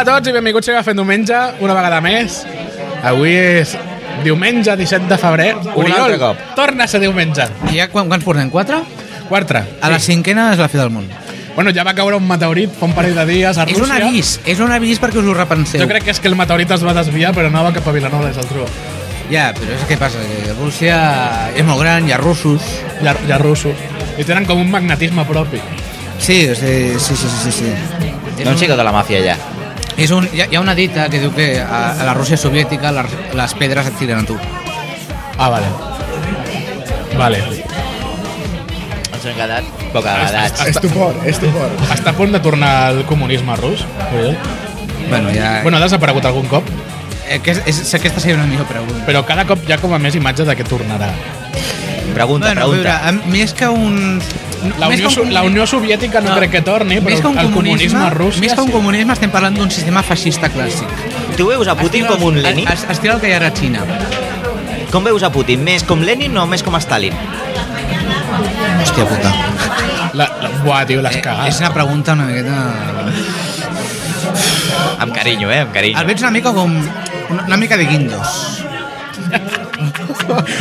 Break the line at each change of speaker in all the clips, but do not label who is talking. Saludats i benvinguts a Agafem Diumenge, una vegada més. Avui és diumenge 17 de febrer. Oriol,
altre cop.
torna a ser diumenge.
I ja quan, quants portem? Quatre?
Quatre.
A la cinquena és la fi del món.
Bueno, ja va caure un meteorit fa un parell de dies a
És
Rússia.
un avís, és un avís perquè us ho repenseu.
Jo crec que és que el meteorit es va desviar, però anava cap a Vilanova i la Geltrú.
Ja, però és que passa, que Rússia és molt gran, hi ha russos...
Hi ha, hi ha russos. I tenen com un magnetisme propi.
Sí, o sigui, sí, sí, sí, sí. sí. És
No
un,
sé de la màfia allà.
és un, hi, ha, hi ha una dita que diu que a, a la Rússia soviètica les, les pedres et tiren a tu.
Ah, vale. Vale.
Ens hem quedat bocabadats.
Estupor, estupor.
Està a punt de tornar al comunisme rus. Oriol.
Bueno, ja...
Bueno, ha desaparegut algun cop,
eh, que és, és, aquesta seria una millor pregunta.
però cada cop hi ha com a més imatge de que tornarà.
Pregunta,
bueno, a veure,
pregunta.
a- més que un...
La
més
Unió,
que
Su-
un
la Unió Soviètica no, crec que torni, però
més que un
el comunisme rus...
Més que un
sí.
comunisme estem parlant d'un sistema feixista clàssic.
Tu veus a Putin com un Lenin?
Es, es tira el que hi ha a Xina.
Com veus a Putin? Més com Lenin o més com Stalin?
Hòstia puta.
La, la, buah, tio, l'has
Eh,
cagat.
és una pregunta una miqueta...
Amb carinyo, eh? Amb carinyo.
El veig una mica com... Una, una mica de guindos.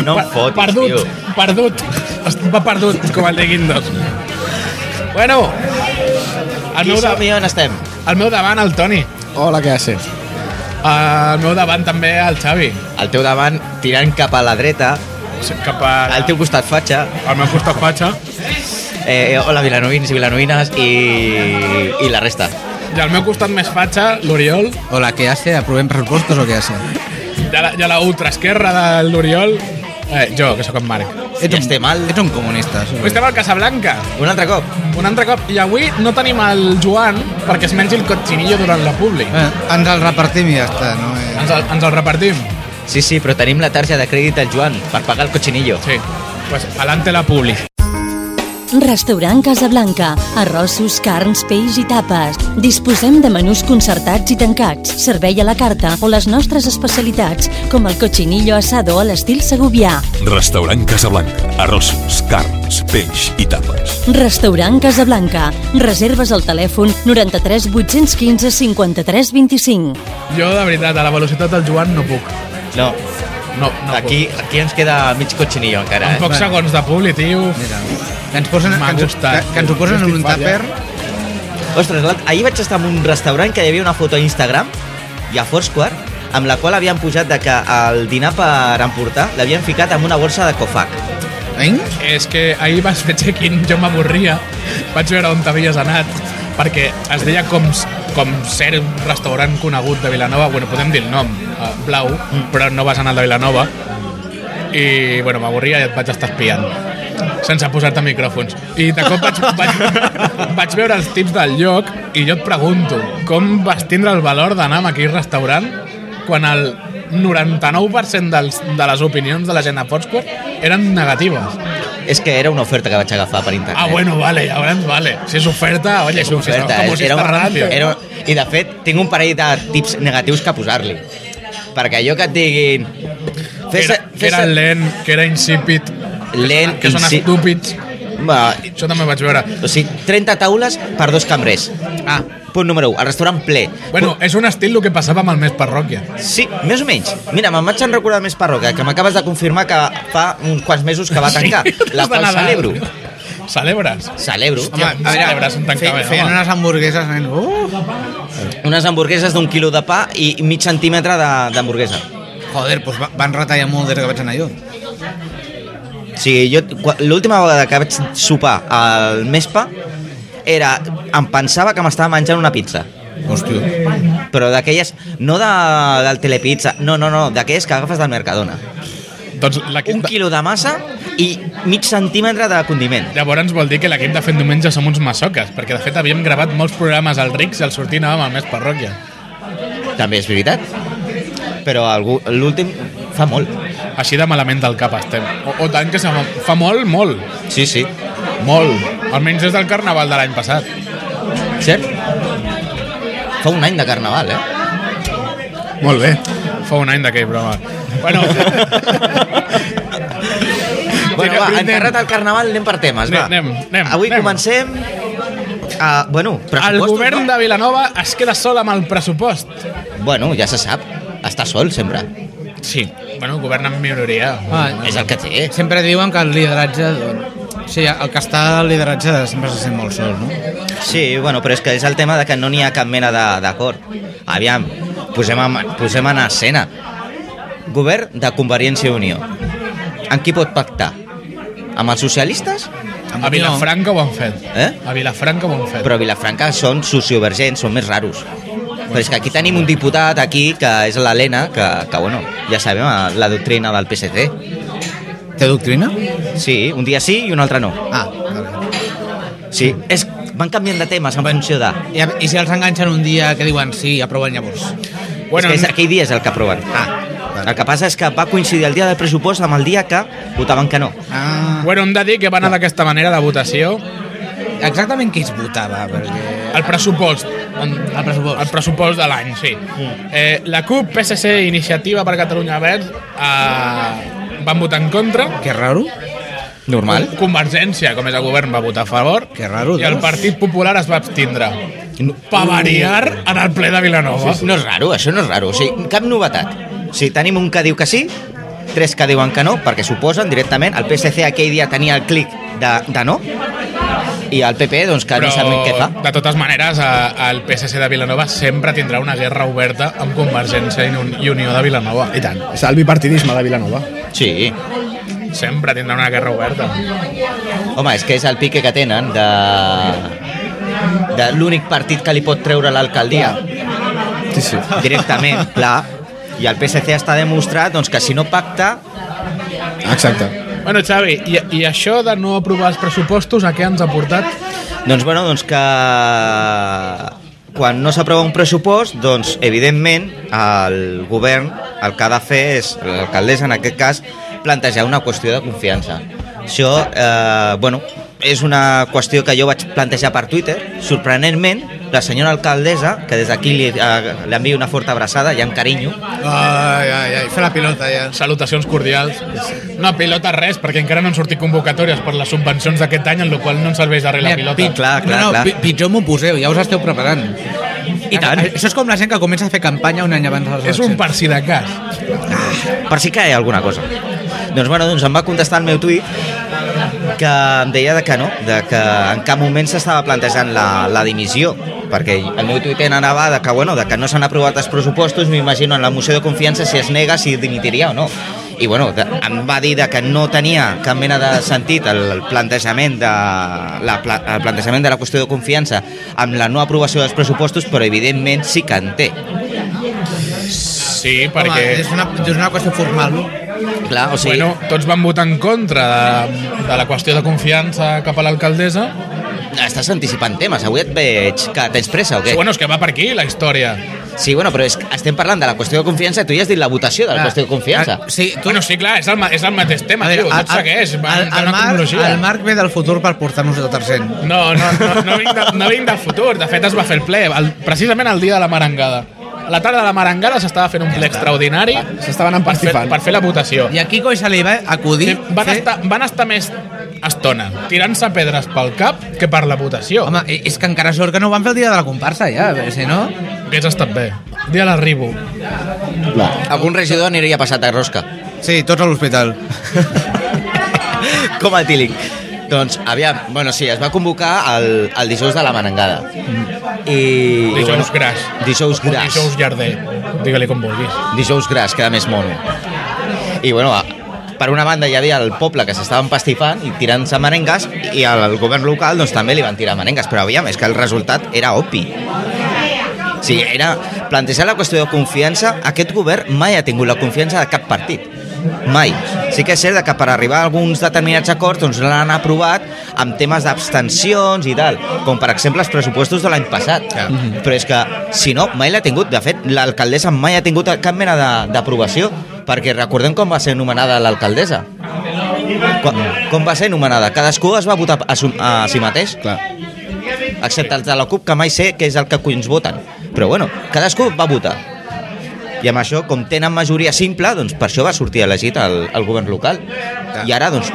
No em
Per-
fotis,
perdut,
tio.
Perdut, perdut. Va perdut, com el de Guindos. Bueno, al
Qui
meu,
som
de,
i on estem?
al meu davant el Toni.
Hola, què haces?
Al meu davant també el Xavi.
Al teu davant, tirant cap a la dreta,
Cap a,
al teu costat fatxa,
al meu costat fatxa.
eh, hola vilanovins i vilanoïnes i, i la resta.
I al meu costat més fatxa, l'Oriol.
O la que hace, aprovem pressupostos o què hace?
Ja la, ja la ultraesquerra de l'Oriol. Eh, jo, que sóc en Marc.
Ja estem al...
Ets un comunista. sí.
Avui estem al Casablanca.
Un altre cop.
Un altre cop. I avui no tenim el Joan perquè es mengi el cotxinillo durant la publi.
Eh, ens el repartim i ja està, no? Eh,
Ens el, ens el repartim.
Sí, sí, però tenim la targeta de crèdit del Joan per pagar el cochinillo.
Sí. Pues adelante la publi.
Restaurant Casablanca. Arrossos, carns, peix i tapes. Disposem de menús concertats i tancats, servei a la carta o les nostres especialitats, com el cochinillo asado a l'estil segubià.
Restaurant Casablanca. Arrossos, carns, peix i tapes.
Restaurant Casablanca. Reserves al telèfon 93 815 53 25.
Jo, de veritat, a la velocitat del Joan no puc.
No,
No, no
aquí, aquí ens queda mig cochinillo
Puc.
encara,
Amb
eh?
pocs segons de publi, tio.
Mira, que ens posen,
M'ha
que ens, que,
gustat.
que ens ho posen en un tàper.
Ostres, l'alt- ahir vaig estar en un restaurant que hi havia una foto a Instagram i a Foursquare amb la qual havien pujat de que el dinar per emportar l'havien ficat en una borsa de cofac.
Eh?
És que ahir vas fer check-in, jo m'avorria. Vaig veure on t'havies anat, perquè es deia com, com ser un restaurant conegut de Vilanova, bueno, podem dir el nom, eh, Blau, però no vas anar al de Vilanova. I, bueno, m'avorria i et vaig estar espiant sense posar-te micròfons. I de cop vaig, vaig, vaig veure els tips del lloc i jo et pregunto, com vas tindre el valor d'anar a aquell restaurant quan el 99% dels, de les opinions de la gent a Foursquare eren negatives?
És que era una oferta que vaig agafar per internet.
Ah, bueno, vale, llavors vale. Si és oferta, oye, si és oferta,
Oferta,
com
eh?
si
era
està
un,
ràdio.
era, I de fet, tinc un parell de tips negatius que posar-li. Perquè allò que et diguin...
Que era, que era lent, que era insípid,
lent
que són
insi-
estúpids.
Va,
Això també vaig veure.
o sigui, 30 taules per dos cambrers.
Ah,
Punt número 1, el restaurant ple.
Bueno, és un estil el que passava amb el més parròquia.
Sí, més o menys. Mira, me'n vaig en recordar més parroca, que m'acabes de confirmar que fa uns quants mesos que va tancar. La
Des de
qual
Nadal.
celebro.
Celebres?
Celebro.
Home,
Home,
a veure, un tancament,
feien
home.
unes hamburgueses, nen. Uh!
unes hamburgueses d'un quilo de pa i mig centímetre de- d'hamburguesa.
Joder, doncs va- van retallar molt des que vaig anar jo.
O sigui, jo qua- l'última vegada que vaig sopar al Mespa era... Em pensava que m'estava menjant una pizza.
Hòstia.
Però d'aquelles... No de, del Telepizza, no, no, no, d'aquelles que agafes del Mercadona.
Doncs l'equip
Un
de-
quilo de massa i mig centímetre de condiment.
Llavors vol dir que l'equip de Fent Diumenge som uns massoques, perquè de fet havíem gravat molts programes al Rix i al sortir anàvem al més parròquia.
També és veritat. Però algú- l'últim fa molt.
Així de malament del cap estem. O, o tant que se fa, fa molt, molt.
Sí, sí.
Molt. Almenys des del carnaval de l'any passat.
Cert? Fa un any de carnaval, eh?
Molt bé.
Fa un any d'aquell broma. Bueno,
Bueno, va,
anem.
enterrat el carnaval, anem per temes, va.
Anem, anem, anem,
Avui
anem.
comencem Uh, bueno,
El
pressupostos,
govern
no?
de Vilanova es queda sol amb el pressupost.
Bueno, ja se sap. Està sol, sempre.
Sí, bueno, govern en minoria.
Ah,
És el que té.
Sempre diuen que el lideratge... Doncs, sí, el que està al lideratge sempre se sent molt sol, no?
Sí, bueno, però és que és el tema de que no n'hi ha cap mena de- d'acord. Aviam, posem en, posem en escena. Govern de Convergència i Unió. Amb qui pot pactar? Amb els socialistes?
A Vilafranca ho han fet.
Eh?
A Vilafranca ho han fet.
Però a Vilafranca són sociovergents, són més raros. Però és que aquí tenim un diputat aquí, que és l'Helena, que, que bueno, ja sabem eh, la doctrina del PSC.
Té doctrina?
Sí, un dia sí i un altre no.
Ah, vale.
Sí, és, van canviant de temes en funció de...
I, I si els enganxen un dia que diuen sí, aproven llavors?
bueno,
és que és, aquell dia és el que aproven.
Ah,
El que passa és que va coincidir el dia del pressupost amb el dia que votaven que no.
ah.
bueno, hem de dir que va anar d'aquesta manera de votació.
Exactament qui es votava? Perquè...
El pressupost. El
pressupost.
El pressupost de l'any, sí. Eh, la CUP, PSC, Iniciativa per Catalunya Verds eh, van votar en contra.
Que raro.
Normal.
Convergència, com és el govern, va votar a favor.
Que raro,
I el
doncs.
Partit Popular es va abstindre. Pa variar en el ple de Vilanova.
Eh, No és raro, això no és raro. O sigui, cap novetat. O sigui, tenim un que diu que sí, tres que diuen que no, perquè suposen directament. El PSC aquell dia tenia el clic de, de no, i el PP, doncs, que no sap què fa.
de totes maneres, a- el PSC de Vilanova sempre tindrà una guerra oberta amb Convergència i Un- i Unió de Vilanova.
I tant. És el bipartidisme de Vilanova.
Sí.
Sempre tindrà una guerra oberta.
Home, és que és el pique que tenen de de l'únic partit que li pot treure l'alcaldia
Sí, sí.
directament, clar. I el PSC està demostrat doncs, que si no pacta,
Exacte.
Bueno, Xavi, i, i això de no aprovar els pressupostos, a què ens ha portat?
Doncs bueno, doncs que quan no s'aprova un pressupost, doncs evidentment el govern el que ha de fer és, l'alcaldessa en aquest cas, plantejar una qüestió de confiança. Això, eh, bueno, és una qüestió que jo vaig plantejar per Twitter. Sorprenentment, la senyora alcaldessa, que des d'aquí li, eh, li envio una forta abraçada i amb carinyo,
Ai, ai, ai, fer la pilota ja.
Salutacions cordials. No pilota res, perquè encara no han sortit convocatòries per les subvencions d'aquest any, en la qual no ens serveix de res la
Mira,
pilota.
pi- clar, clar,
no, no,
clar.
pi- pitjor m'ho poseu, ja us esteu preparant.
I tant.
Això és com la gent que comença a fer campanya un any abans de les
És un per si de cas.
per si que hi ha alguna cosa. Doncs, bueno, doncs em va contestar el meu tuit que em deia de que no, de que en cap moment s'estava plantejant la, la dimissió, perquè el meu tuit anava de que, bueno, de que no s'han aprovat els pressupostos, m'imagino en la moció de confiança si es nega si dimitiria o no. I bueno, de, em va dir de que no tenia cap mena de sentit el, el plantejament de la, pla- el plantejament de la qüestió de confiança amb la no aprovació dels pressupostos, però evidentment sí que en té.
Sí,
Home,
perquè...
és una, és una qüestió formal, no?
Clar, o
Sí.
sigui,
Bueno, tots van votar en contra de, de la qüestió de confiança cap a l'alcaldessa.
Estàs anticipant temes, avui et veig que tens pressa o què?
Sí. Bueno, és que va per aquí la història.
Sí, bueno, però és que estem parlant de la qüestió de confiança i tu ja has dit la votació de la qüestió de confiança.
Ah, Sí,
Tu...
tu,
Bueno, sí, clar, és el, ma- és el mateix tema, veure, tio, tot segueix, va
el,
en una
el, Marc,
cronologia.
el Marc ve del futur per portar-nos a tercer.
No, no, no, no, vinc de, no vinc del futur. De fet, es va fer el ple, el, precisament el dia de la marangada. A la tarda de la marangada s'estava fent un ple extraordinari
S'estaven
per fer,
empartifant.
per fer la votació.
I a Kiko se li va acudir...
Sí, van,
fer-
estar, van estar més estona tirant-se pedres pel cap que per la votació.
Home, i- és que encara sort que no ho van fer el dia de la comparsa, ja, perquè si no...
Hauria estat bé. Dia l'arribo.
Clar.
Algun regidor aniria passat a rosca.
Sí, tots a l'hospital.
Com a tílic. Doncs, aviam, bueno, sí, es va convocar el, el dijous de la manangada. I, i bueno,
Dijous gras.
Dijous gras.
Dijous llarder. Digue-li com vulguis.
dijous gras, queda més mono. I, bueno, a- per una banda hi havia el poble que s'estava empastifant i tirant-se merengues i al govern local doncs, també li van tirar merengues, però aviam, és que el resultat era obvi. O sigui, era plantejar la qüestió de confiança. Aquest govern mai ha tingut la confiança de cap partit. Mai. Sí que és cert que per arribar a alguns determinats acords doncs, l'han aprovat amb temes d'abstencions i tal, com per exemple els pressupostos de l'any passat. Mhm. Però és que, si no, mai l'ha tingut. De fet, l'alcaldessa mai ha tingut cap mena de- d'aprovació, perquè recordem com va ser nomenada l'alcaldessa. Com, com va ser nomenada? Cadascú es va votar a, su- a si mateix
Clar.
excepte els de la CUP, que mai sé què és el que collons voten. Però bueno, cadascú va votar. I amb això, com tenen majoria simple, doncs per això va sortir elegit el, el govern local. I ara, doncs,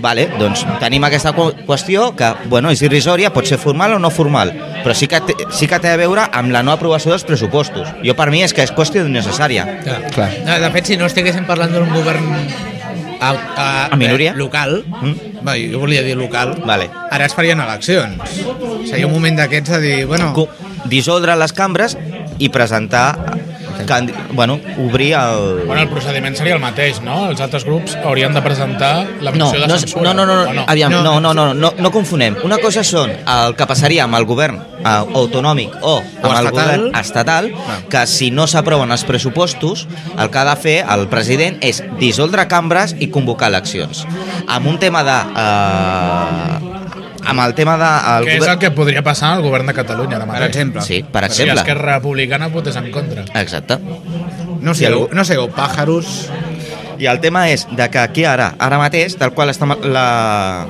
vale, doncs tenim aquesta cu- qüestió que, bueno, és irrisòria, pot ser formal o no formal, però sí que, té, sí que té a veure amb la no aprovació dels pressupostos. Jo, per mi, és que és qüestió necessària.
Clar.
Clar.
No, de fet, si no estiguéssim parlant d'un govern a, a, eh,
A minoria?
local,
Mm.
va, jo volia dir local,
Vale.
ara es farien eleccions. Seria un moment d'aquests de dir, bueno,
Co- Dissoldre les cambres i presentar... candi- Bueno, obrir el...
Bueno, el procediment seria el mateix, no? Els altres grups haurien de presentar la
No,
moció de
no, és-
censura.
no, no, no,
o
no, aviam,
No.
no, no, no, no, no, no confonem. Una cosa són el que passaria amb el govern eh, autonòmic o amb el
estatal.
govern estatal,
Ah.
que si no s'aproven els pressupostos, el que ha de fer el president és dissoldre cambres i convocar eleccions. Amb un tema de... Eh, amb el tema de... El
Que és el que podria passar al govern de Catalunya ara
per
mateix.
exemple.
Sí, per
Si
exemple.
Esquerra Republicana votés en contra.
Exacte.
No
Si
sé,
algú-
no sé, o pàjaros...
I el tema és de que aquí ara, ara mateix, tal qual està la,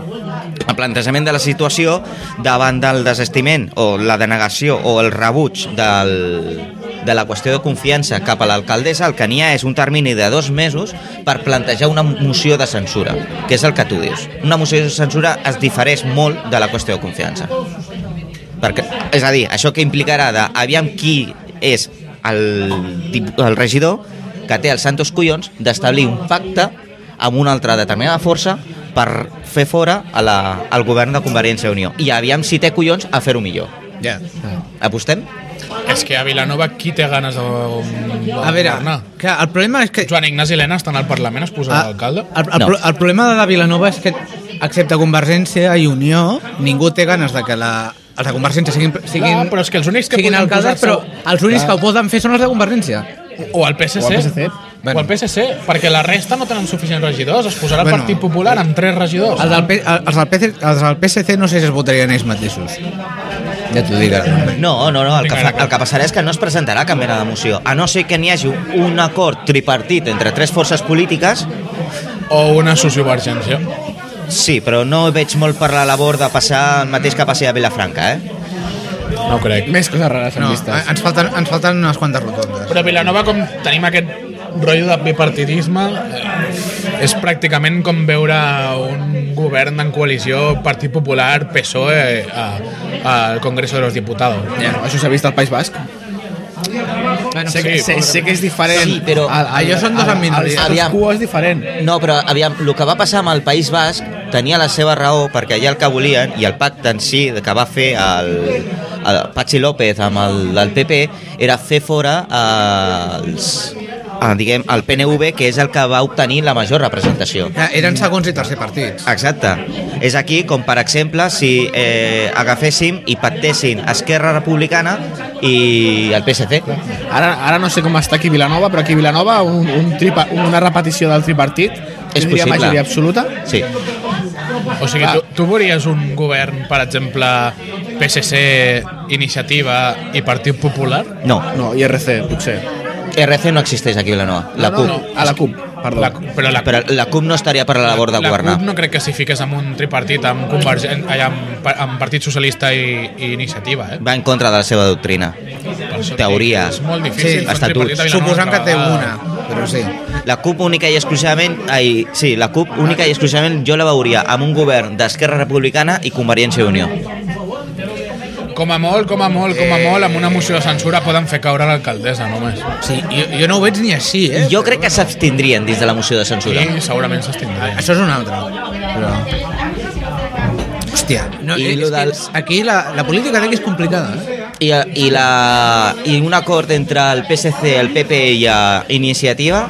el plantejament de la situació davant del desestiment o la denegació o el rebuig del, de la qüestió de confiança cap a l'alcaldessa, el que n'hi ha és un termini de dos mesos per plantejar una moció de censura, que és el que tu dius. Una moció de censura es difereix molt de la qüestió de confiança. Perquè, és a dir, això que implicarà de aviam qui és el, dip- el regidor que té els santos collons d'establir un pacte amb una altra determinada força per fer fora a la, al govern de Convergència i Unió. I aviam si té collons a fer-ho millor.
Ja.
Apostem?
És que a Vilanova qui té ganes de, de
A veure,
governar?
clar, el problema és que...
Joan Ignasi Helena està al Parlament, es posa
Ah,
d'alcalde?
El, el,
No.
pro- el problema de la Vilanova és que, excepte Convergència i Unió, ningú té ganes de que la, els de Convergència siguin, siguin,
Clar, però és que els únics que
siguin
podien
alcaldes, però
posar-se-
els únics
Ah.
que ho poden fer són els de Convergència.
O el PSC?
O el PSC.
Bueno. O el PSC, perquè la resta no tenen suficients regidors. Es posarà el
Bueno.
Partit Popular amb tres regidors.
El del, P- el- els, del PC, els del PSC no sé si es votarien ells mateixos. Ja t'ho dic ara.
No, no, no, el que,
Vinga,
fa, el que passarà és que no es presentarà cap mena de moció, a no ser que n'hi hagi un acord tripartit entre tres forces polítiques
O una sociovergència.
Sí, però no veig molt per la labor de passar el mateix que passi a Vilafranca, eh?
No ho crec.
Més coses rares en
No,
llistes.
ens falten, ens falten unes quantes rotondes.
Però a Vilanova, com tenim aquest rotllo de bipartidisme, eh, és pràcticament com veure un govern en coalició Partit Popular, PSOE, E, a- al Congreso de los Diputados.
Bueno, això s'ha vist al País Basc.
Bueno,
Sé que- sé- sé
que és diferent.
Sí, però-
Allò són dos en minoria.
El
Aviam.
status quo és diferent.
No, però aviam, el que va passar amb el País Basc tenia la seva raó, perquè allà el que volien, i el pacte en si que va fer el, el Patxi López amb el del PP, era fer fora eh, els, eh, diguem, el PNV, que és el que va obtenir la major representació.
Ja, Eren segons i tercer
Ah,
partits.
Exacte. És aquí com, per exemple, si eh, agaféssim i pactessin Esquerra Republicana i el PSC.
Ara, ara no sé com està aquí Vilanova, però aquí Vilanova un, un tripa, una repetició del tripartit
És
tindria
possible.
majoria absoluta.
Sí.
O sigui,
Ah.
tu, tu veuries un govern, per exemple, PSC, Iniciativa i Partit Popular?
No,
No, IRC, potser.
RC no existeix aquí a Vilanova. La
no,
CUP.
no, no, a la CUP, perdó.
La, però la,
Però la CUP no estaria per la labor de
la
governar.
CUP no crec que s'hi fiques amb un tripartit amb, convergent, ai, amb, pa- amb Partit Socialista i, i Iniciativa, eh?
Va en contra de la seva doctrina.
Per això
Teoria.
dic, És molt difícil.
Sí,
fer un
estatuts.
tripartit a Vilanova Ah,
Suposant que té
altra
una,
vegada.
però sí.
La CUP única i exclusivament... Ai, sí, la CUP única i exclusivament jo la veuria amb un govern d'Esquerra Republicana i Convergència i Unió.
Com a molt, com a molt, com
Eh.
a molt, amb una moció de censura poden fer caure l'alcaldessa, només.
sí jo, jo no ho veig ni així, eh?
Jo crec que s'abstindrien dins de la moció de censura.
I segurament s'estindrà.
Això és un altre. Però... Hòstia, no,
I
és,
lo
és que
del-
aquí la, la política d'aquí és complicada. Eh?
I, i, la, I un acord entre el PSC, el PP i eh, Iniciativa...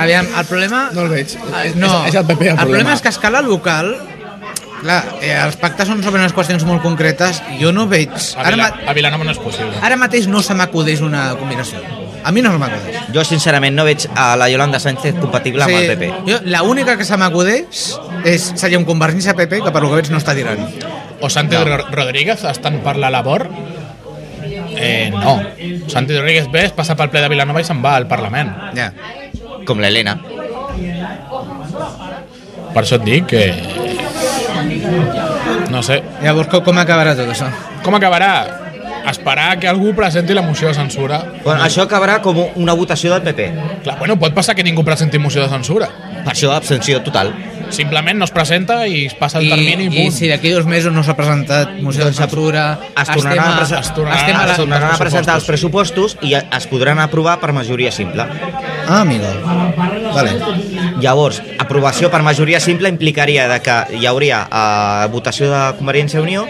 Aviam, el problema...
No el veig.
Ah,
És-
No,
és- és el PP el
el
problema.
problema és que a escala local Clar, eh, els pactes són sobre unes qüestions molt concretes i jo no veig...
A, Vila,
Ara, ma- Ah.
a Vilanova no és possible.
ara mateix no se m'acudeix una combinació. A mi no se m'acudeix.
Jo, sincerament, no veig a la Yolanda Sánchez compatible amb el PP.
Jo, l'única que se m'acudeix és seria un Convergència PP que per lo que veig no està tirant.
O Santi Ro- Rodríguez estan per la labor? Eh, no. Santi Rodríguez ve, es passa pel ple de Vilanova i se'n va al Parlament.
Ja.
Com l'Helena.
Per això et dic que... No sé.
Llavors, com, com acabarà tot això?
Com acabarà? esperar que algú presenti la moció de censura.
Bueno, això acabarà com una votació del PP.
Clar, bueno, pot passar que ningú presenti moció de censura.
Per això, abstenció total.
Simplement no es presenta i es passa el
I,
termini i,
i
punt.
si d'aquí dos mesos no s'ha presentat moció de
Doncs
censura
Es tornaran a, pres-
es tornaran-
estem a, la-
es tornaran
tornaran a
els
presentar els pressupostos i es podran aprovar per majoria simple.
ah amigo vale.
Llavors, aprovació per majoria simple implicaria de que hi hauria eh, votació de Convergència i Unió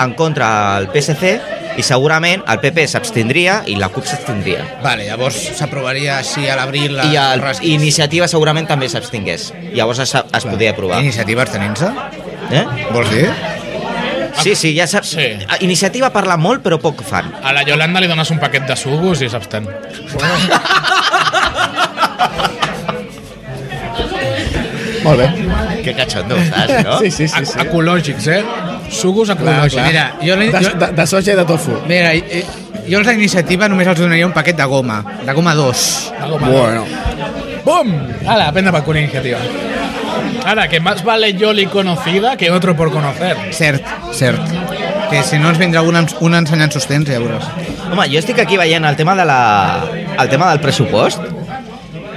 en contra el PSC i segurament el PP s'abstindria i la CUP s'abstindria.
vale llavors s'aprovaria així a l'abril la-
I el,
rasquis.
iniciativa segurament també s'abstingués. Llavors es, es podia aprovar.
iniciativa abstenint-se Ah,
Eh?
vols dir?
Sí, sí, ja saps.
Sí.
Iniciativa parla molt però poc fan.
A la Yolanda li dones un paquet de sucos i s'abstén.
Molt bé.
Que catxondo estàs, no?
Sí, sí,
Ah,
sí.
Ec-
sí.
Ecològics, eh? Sucos
Clar,
ecològics.
clar.
doncs Mira, jo li-
de,
jo-
de, de soja i de tofu.
mira eh, jo als d'iniciativa només els donaria un paquet de goma de goma 2
Algo malo. ¡Bum! Ala, aprenda para con iniciativa. Ahora, que más vale Yoli conocida que otro por conocer.
cert cert que si no ens vendrà una, una ensenyant sostens ja veuràs
Home, jo estic aquí veient el tema, de la, el tema del pressupost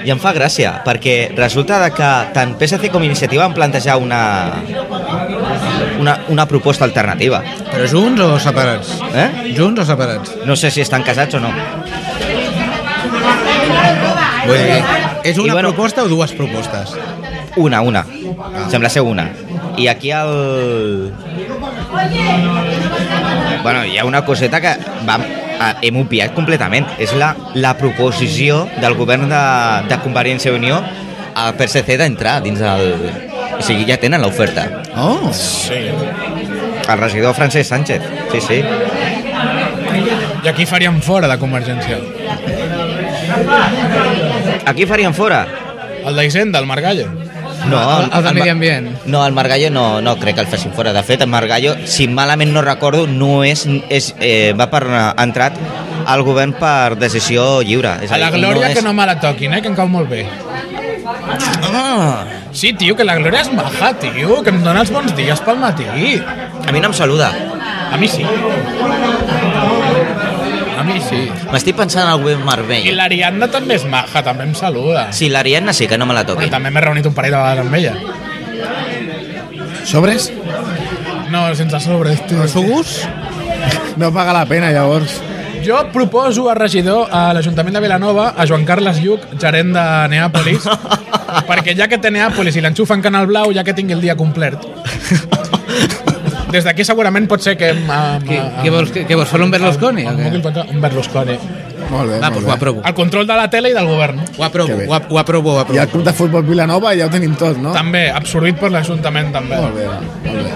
i em fa gràcia, perquè resulta de que tant PSC com Iniciativa han plantejat una, una, una proposta alternativa.
però junts o separats?
Eh?
junts o separats?
No sé si estan casats o no.
Vull dir, és
I
una
bueno-
proposta o dues propostes?
Una, una. Sembla ser una. I aquí el... Bueno, hi ha una coseta que vam, eh, hem obviat completament. És la, la proposició del govern de, de Convergència i Unió a PSC d'entrar dins del... O sigui, ja tenen l'oferta.
Oh,
Sí.
El regidor Francesc Sánchez. Sí, sí.
I aquí faríem fora de Convergència.
Aquí farien fora.
El d'Hisenda, el Margallo.
No,
El- el de
Mar-
Medi Ambient.
No, el Margallo no, no crec que el facin fora. De fet, el Margallo, si malament no recordo, no és, és eh, va per, ha entrat al govern per decisió lliure. És
A la
dir,
Glòria
és...
que no me la toquin, eh, que em cau molt bé.
Ah,
Sí, tio, que la Glòria és maja, tio, que em dona els bons dies pel matí.
a mi no em saluda.
A mi sí. A mi sí.
M'estic pensant en el web
I
Marvell. La...
l'Ariadna també és maja, també em saluda.
Sí, l'Ariadna sí que no me la toqui.
Però també m'he reunit un parell de vegades amb ella.
Sobres?
No, sense sobres, tio.
sugus?
No paga la pena, llavors.
Jo proposo a regidor a l'Ajuntament de Vilanova, a Joan Carles Lluc, gerent de Neàpolis, perquè ja que té Neàpolis i l'enxufa en Canal Blau, ja que tingui el dia complert. Des d'aquí segurament pot ser que... Amb, amb,
Què, què vols, què, què vols fer un Berlusconi? o
Amb,
què?
amb, amb, amb Berlusconi.
Molt bé,
Va, doncs
molt
ho
bé.
aprovo.
El control de la tele i del govern.
Ho aprovo,
Que bé.
ho, ap- ho aprovo, ho
I el
aprovo.
club de futbol Vilanova ja ho tenim tot, no?
També, absorbit per l'Ajuntament, també.
Molt bé, molt bé.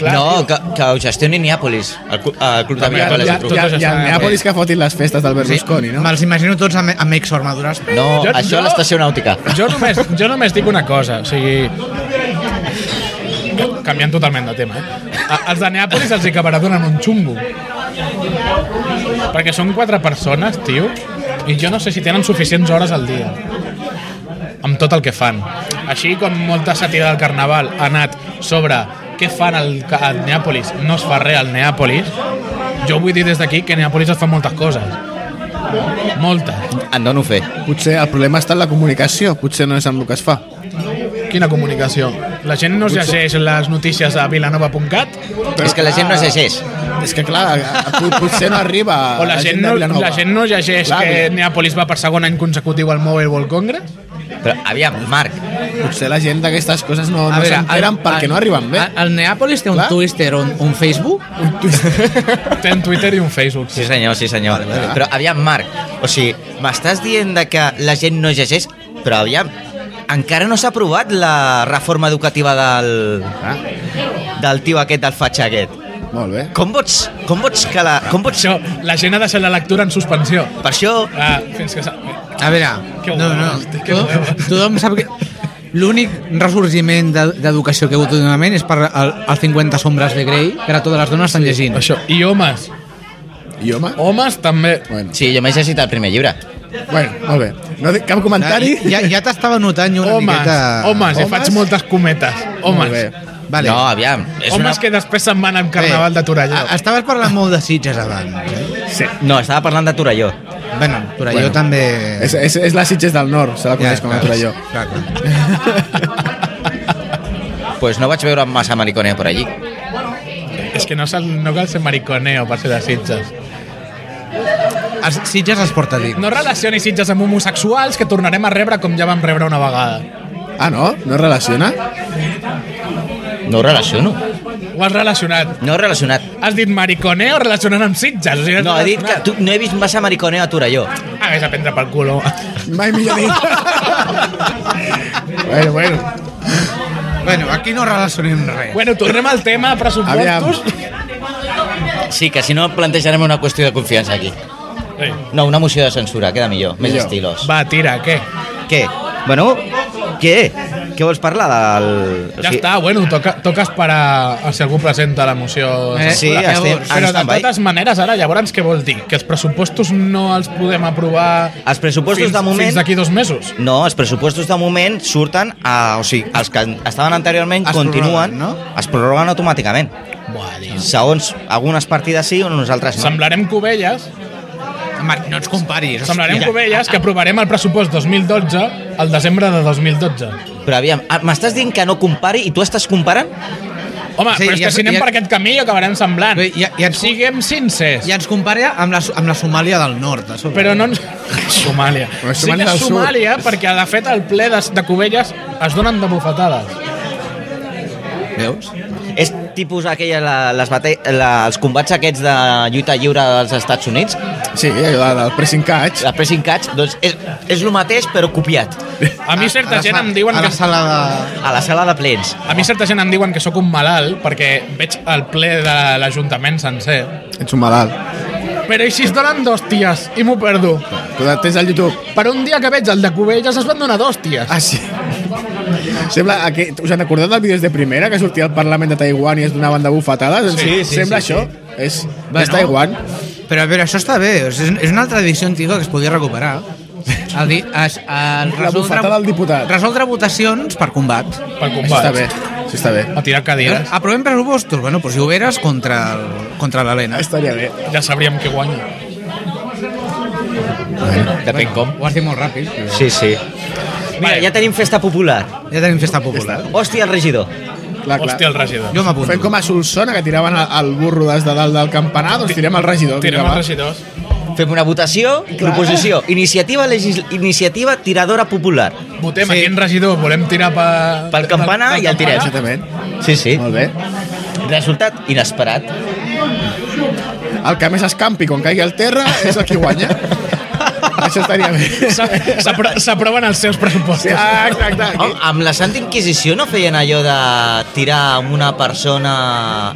Clar,
no, que, que ho gestioni Niàpolis. El, clu- el club de
També,
Ja,
Niàpolis.
ja,
tot
ja,
això
ja,
està
Neàpolis que fotin les festes del Berlusconi, no?
Me'ls imagino tots amb, amb exarmadures.
No,
Jo-
això
jo-
a l'estació nàutica.
Jo només, jo només dic una cosa, o sigui... Canviant totalment de tema, eh? A, els de Neàpolis els hi acabarà donant un xungo. Perquè són quatre persones, tio, i jo no sé si tenen suficients hores al dia amb tot el que fan. Així com molta sàtira del carnaval ha anat sobre què fan al, ca- al Neàpolis, no es fa res al Neàpolis, jo vull dir des d'aquí que a Neàpolis es fan moltes coses. Moltes.
En dono fe.
Potser el problema està en la comunicació, potser no és amb el que es fa.
Quina comunicació? La gent no es llegeix les notícies a vilanova.cat
Però, és que la gent no es llegeix.
És que clar, a- a- pot- potser no arriba
Ah,
o la, gent,
de
no,
Vilanova.
la gent no llegeix
Clar,
que
vi-
Neapolis va per segon any consecutiu al Mobile World Congress?
Però, aviam, Marc,
Potser la gent d'aquestes coses no, no s'enteren perquè no arriben bé.
El, el Neàpolis té un
Clar.
Twitter o un, un Facebook?
Té un Twitter i un Facebook.
Sí senyor, sí senyor. Però aviam, Marc, o sigui, m'estàs dient de que la gent no llegeix, però aviam, encara no s'ha aprovat la reforma educativa del, del tio aquest, del fatxa aquest.
Ah. Molt bé.
Com pots, com pots que la... Com pots...
Això, la gent ha deixat la lectura en suspensió.
Per això...
Ah, fins que... s'ha-
A veure,
Que
no,
guai,
no,
hosti, que
to-
guai.
tothom sap que... L'únic ressorgiment de- d'educació que hi ha hagut últimament és per el, els 50 sombres de Grey, que ara totes les dones estan llegint.
Això. I homes.
I home?
Homes també.
Bueno,
Sí, jo m'he llegit el primer llibre.
bueno molt bé. No dic cap comentari?
Ja, ja t'estava notant jo una
Homes,
miqueta...
homes, i
Homes? eh,
faig moltes cometes.
Molt
Homes.
bé.
Vale.
No, aviam. És
Homes
una...
que després se'n van al carnaval de Torelló.
A- Estaves parlant molt de Sitges abans.
Sí.
No, estava parlant de Torelló.
Bueno, Torelló
Bueno.
també...
És, és, és la Sitges del Nord, se la coneix com
clar,
a Torelló.
Clar, clar.
pues no vaig veure massa mariconea per allí.
És que no, sal, no cal ser mariconeo per ser de Sitges.
Els Sitges es porta a dir.
No relacioni Sitges amb homosexuals que tornarem a rebre com ja vam rebre una vegada.
Ah, no? No es relaciona?
No ho relaciono.
Ho has relacionat.
No ho he relacionat.
Has dit mariconeo relacionant amb Sitges. O sigui, has
No, he dit que
relacionat.
tu, no he vist massa mariconeo a Torelló.
Ah, vés a prendre pel cul, home.
Mai millor dit. bueno, bueno.
Bueno, aquí no relacionem res.
Bueno, tornem al tema pressupostos.
Sí, que si no plantejarem una qüestió de confiança aquí.
Sí.
No, una moció de censura, queda millor, més
Millor.
estilos.
Va, tira, què?
Què? Bueno, què? Què vols parlar del...
Ja està, bueno, toca, toca esperar a si algú presenta la moció.
Eh,
Sí,
Llavors,
estem,
Però
en
de
stand-by.
totes maneres, ara, llavors, què vol dir? Que els pressupostos no els podem aprovar...
Els pressupostos,
fins,
de moment-
Fins d'aquí dos mesos.
No, els pressupostos de moment surten a... O sigui, els que estaven anteriorment
Es prorroguen,
continuen,
no?
es prorroguen automàticament.
Buah,
Segons algunes partides sí o nosaltres no.
Semblarem Covelles,
Marc, no ens comparis.
semblarem
hòstia.
Covelles que aprovarem el pressupost 2012 al desembre de 2012.
Però aviam, ah, m'estàs dient que no compari i tu estàs comparant?
Home,
Sí,
sí, però és
ja-
que si anem
ja-
per aquest camí acabarem semblant.
Bé, ja- ja ens-
Siguem sincers.
I ens compara amb la, amb la Somàlia del nord. A sobre.
Però no ens... Somàlia.
Però és
Sí que
Somàlia del
és
Sud.
Somàlia, perquè de fet al ple de, de Covelles es donen de bufetades.
Veus?
És tipus aquella, la, les bate la, els combats aquests de lluita lliure dels Estats Units,
Sí, la del pressing catch.
la pressing catch, doncs és, és el mateix però copiat
A mi certa
la
gent
sa-
em diuen
a la
que...
sala de...
a la sala de plens.
A mi certa gent em diuen que sóc un malalt perquè veig el ple de l'Ajuntament sencer.
Ets un malalt.
Però i si es donen d'hòsties i m'ho perdo.
Tu la tens al YouTube.
Per un dia que veig el de Covelles es van donar d'hòsties.
Ah, sí. Sembla que, us en recordeu del vídeos de primera que sortia al Parlament de Taiwan i es donaven de bufetades?
Sí, sí,
Sembla
sí,
això. És,
Bueno.
és Taiwan.
Però, però això està bé, és, és una tradició antiga que es podia recuperar. El, di, es, el
La bufetada del diputat.
Resoldre votacions per combat.
Per
Això està bé.
combats.
Això està bé.
A tirar cadires.
Aprovem pressupostos, bueno, doncs jo veres contra, el, contra l'Helena.
Estaria bé.
Ja sabríem que guanyo.
Depèn com.
Ho has dit molt ràpid. Però...
Sí, sí. Mira, ja tenim festa popular.
Ja tenim festa popular.
Hòstia, el regidor.
Clar, clar.
Hòstia, el regidor.
Jo m'apunto.
Fem com a Solsona, que tiraven el- el burro des de dalt del campanar, doncs tirem el regidor.
Tirem
vinga, va.
els regidors.
Fem una votació, proposició, iniciativa, legis, iniciativa tiradora popular.
Votem
Sí.
sí. a quin regidor volem tirar per...
Pel campanar i el tirem.
Exactament.
Sí, sí.
Molt bé.
Resultat inesperat.
El que més escampi quan caigui al terra és el que guanya. Això estaria bé.
S'a- s'apro- S'aproven els seus pressupostos.
Sí, ah, exacte.
Oh.
Home, Oh, amb la Santa Inquisició no feien allò de tirar amb una persona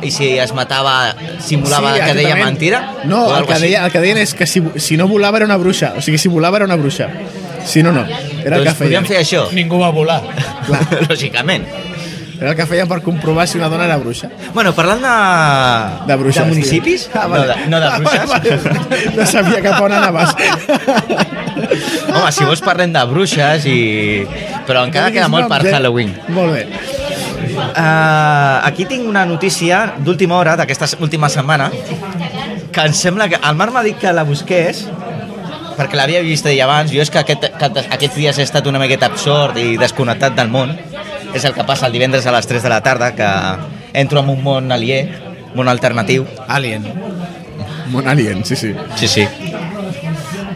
i si es matava simulava que deia
exactament.
mentira?
No,
O
el
algo
que,
així.
deia, el que deien és que si, si no volava era una bruixa. O sigui, si volava era una bruixa. Si no, no. Era el que
doncs podríem fer
feien.
això,
Ningú va volar.
lògicament.
Era el que feien per comprovar si una dona era bruixa.
Bueno, parlant de...
De bruixes.
De municipis?
tio. Ah, vale.
no, de, no de
Ah,
bruixes.
vale, vale. No sabia cap a on anaves.
Home, si vols parlem de bruixes i... Però encara queda molt per
Noms, eh?
Halloween.
Molt bé.
Uh, aquí tinc una notícia d'última hora, d'aquesta última setmana, que em sembla que... El Marc m'ha dit que la busqués, perquè l'havia vist ahir abans. Jo és que, aquest, que aquests dies he estat una miqueta absort i desconnectat del món. És el que passa el divendres a les 3 de la tarda, que entro en un món aliè, món alternatiu.
Alien.
Mon alien, sí, sí.
Sí, sí.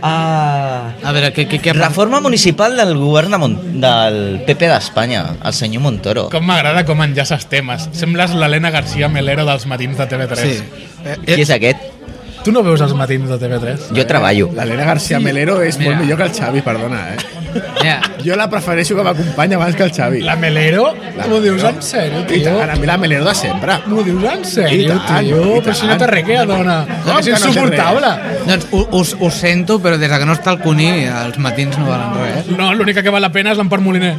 Uh,
A veure, què, què, què
reforma municipal del govern de Mon del PP d'Espanya, el senyor Montoro.
Com m'agrada com enllaces temes. Sembles l'Helena García Melero dels matins de TV3.
Sí.
Sí.
Eh, eh,
Qui és aquest?
Tu no veus els matins de TV3?
Jo treballo.
L'Helena García Melero és
Mira.
molt millor que el Xavi, perdona, eh?
ja.
Jo la prefereixo que m'acompanyi abans que el Xavi.
La Melero?
La
M'ho dius
Melero.
en sèrio,
I
tio?
tant, a mi la Melero de sempre.
M'ho dius en sèrio,
I tant,
tio?
i
Però si no
tant.
té requea, dona. És
Com que no té
insuportable.
Doncs ho, us, ho sento, però des de que no està el Cuní, els matins no valen res.
No, l'única que val la pena és l'Empar Moliner.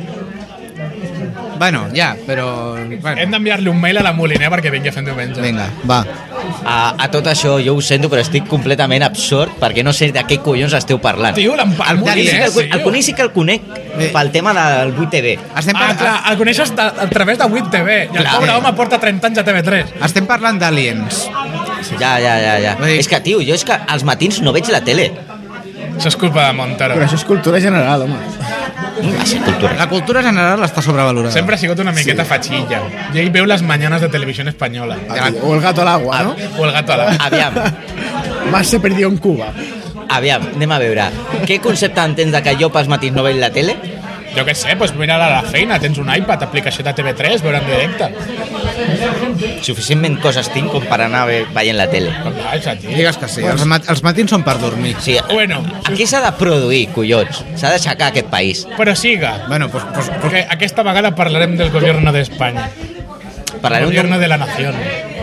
Bueno, ja, però... Bueno.
Hem d'enviar-li un mail a la Moliner perquè vingui a fer diumenge.
Vinga, va.
a, a tot això, jo ho sento, però estic completament absurd perquè no sé de què collons esteu parlant.
Tio, l'empat
el, Cuní sí que el,
sí, Eh.
con- el Cuní sí que el conec pel tema del 8TV.
Estem,
Ah,
par
clar, el coneixes de, a través de 8TV i el
Clar.
pobre home porta 30 anys a TV3.
estem parlant d'aliens.
Ja, ja, ja, ja.
Vull dir-
És que, tio, jo és que als matins no veig la tele.
Això és culpa de Montero.
Però això és cultura general, home.
Mm, Va ser cultura.
La cultura general està sobrevalorada.
Sempre ha sigut una miqueta fatxilla. I ell veu les mañanes de televisió espanyola.
O el gato al
Ah,
agua, no?
O el gato a la...
Aviam,
Más se perdió en Cuba.
aviam, anem a veure. Què concepte entens de que jo pels matins no veig la tele?
Jo què sé, doncs mira a la feina, tens un iPad, aplicació de TV3, veure en directe.
Suficientment coses tinc com per anar ve- veient la tele.
Però clar, és aquí.
Digues que sí, eh? els, mat els matins són per dormir.
O sigui,
Bueno,
aquí s'ha de produir, collons. S'ha d'aixecar aquest país.
però siga.
Bueno, pues, pues, pues,
Perquè aquesta vegada parlarem del gobierno d'Espanya. El
Parlarem
gobierno
d'un-
de la nación.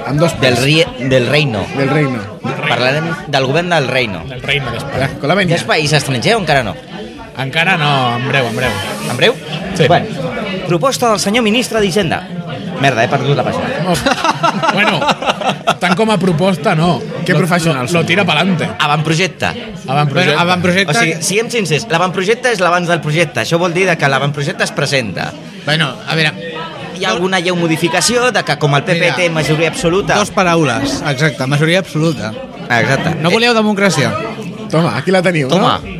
Amb dos
del,
pes.
rie, del reino.
Del reino.
Parlarem del govern del reino.
Del reino d'Espanya.
Con la
Ja
venia.
és país estranger o encara no?
Encara no, en breu, en breu.
En breu?
Sí.
Bueno, proposta del senyor ministre d'Hisenda. Merda, he perdut la pàgina.
Bueno, tant com a proposta, no.
Que
Lo-
professionals
Lo, lo
som.
tira pa'lante.
Avantprojecte.
Avantprojecte.
bueno,
O
avantprojecte...
sigui, siguem sincers, l'avantprojecte és l'abans del projecte. Això vol dir de que l'avantprojecte es presenta.
Bueno, a veure,
Hi ha alguna lleu modificació de que com el PP
Mira,
té majoria absoluta... Ah,
dos paraules, exacte, majoria absoluta.
Exacte.
Eh.
No voleu democràcia?
Toma, aquí la teniu,
Toma.
no?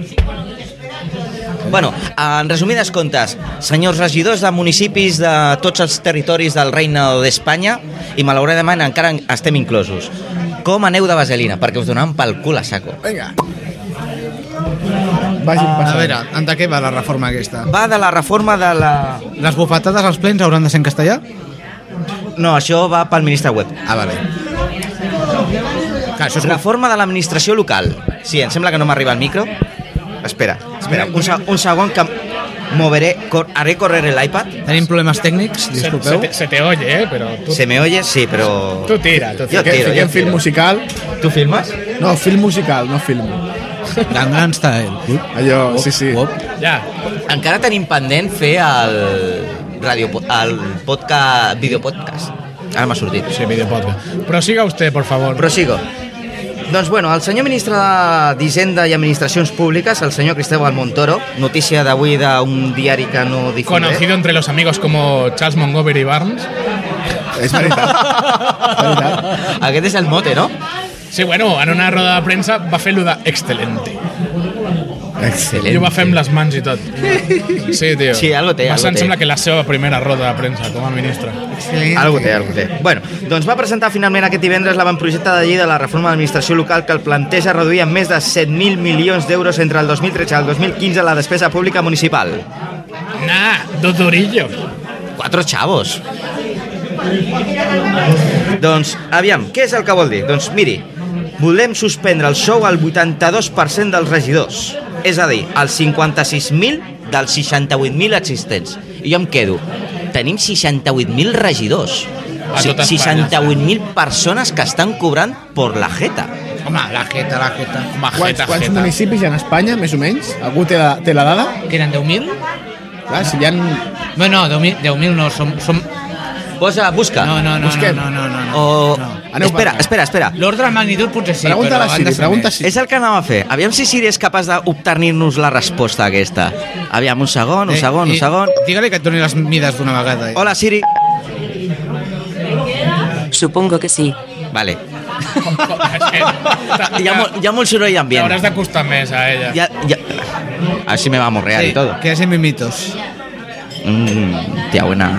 Bueno, en resumides comptes, senyors regidors de municipis de tots els territoris del regne d'Espanya, i malauradament encara en- estem inclosos, com aneu de vaselina? Perquè us donaran pel cul a saco.
Vinga. Vagin
A
passant.
veure, en de què va la reforma aquesta?
Va de la reforma de la...
Les bufetades als plens hauran de ser en castellà?
No, això va pel ministre web.
Ah, vale. Clar, això és...
Reforma de l'administració local. Sí, em sembla que no m'arriba el micro. Espera, espera, un, se- un segon que moveré, cor, haré correr l'iPad.
Tenim problemes tècnics,
Se, se,
disculpeu.
te, se te oye, eh, però tu,
Se me oye? Sí, però...
tu tira. Tu tira.
Jo tiro,
Fiquem
jo
film
tiro.
musical.
Tu filmes?
No, film musical, no film.
Gangnam Style.
Allò, sí, sí.
Uop.
Ja.
Encara tenim pendent fer el, radio, el podcast, videopodcast. Ara m'ha sortit.
Sí, vídeo podcast. Però siga usted, por favor.
Prosigo. Doncs bueno, el senyor ministre d'Hisenda i Administracions Públiques, el senyor Cristóbal Montoro, notícia d'avui d'un diari que no difundré.
Conocido entre los amigos como Charles Montgomery Barnes.
És veritat.
Aquest és el mote, no?
Sí, bueno, en una roda de premsa va fer lo de excelente. I ho va fer amb les mans i tot. Sí, tio.
Sí, algo té,
Va ser,
algo
em
té.
sembla que la seva primera roda de premsa com a ministre.
Algo té, algo té. Bueno, doncs va presentar finalment aquest divendres l'avantprojecte de llei de la reforma de l'administració local que el planteja reduir en més de 7.000 milions d'euros entre el 2013 i el 2015 la despesa pública municipal.
Nah, dos durillos.
Quatre xavos. Doncs, aviam, què és el que vol dir? Doncs miri, volem suspendre el sou al 82% dels regidors, és a dir, als 56.000 dels 68.000 existents. I jo em quedo, tenim 68.000 regidors.
tota
A tot Espanya.
68.000 persones que estan cobrant por la jeta.
Home, la jeta, la jeta.
Quants,
Majeta,
quants
jeta.
municipis hi ha en Espanya, més o menys? Algú té la, té la dada?
Que eren 10.000?
Clar, si hi ha...
Bueno, 10.000 10.000 no, som... som...
Posa, busca.
No, no, no, no,
Busquem.
no, no, no, no.
O...
Aneu
Espera,
parlant.
espera, espera.
L'ordre de magnitud potser sí,
Pregunta a
però
la
han de
Siri,
ser
pregunta a
més.
Siri.
És el que anava a fer. Aviam si Siri és capaç d'obtenir-nos la resposta aquesta. Aviam, un segon, un
Eh,
segon, un
eh,
segon.
Digue-li que et doni les mides d'una vegada. eh.
Hola, Siri.
Supongo que sí.
Vale.
Majeta.
Hi ha, molt, hi ha molt soroll d'ambient.
T'hauràs d'acostar més a ella.
Ja, ja... Així me va a morrear
Sí,
i tot.
que hacen mimitos.
Mm, tía buena.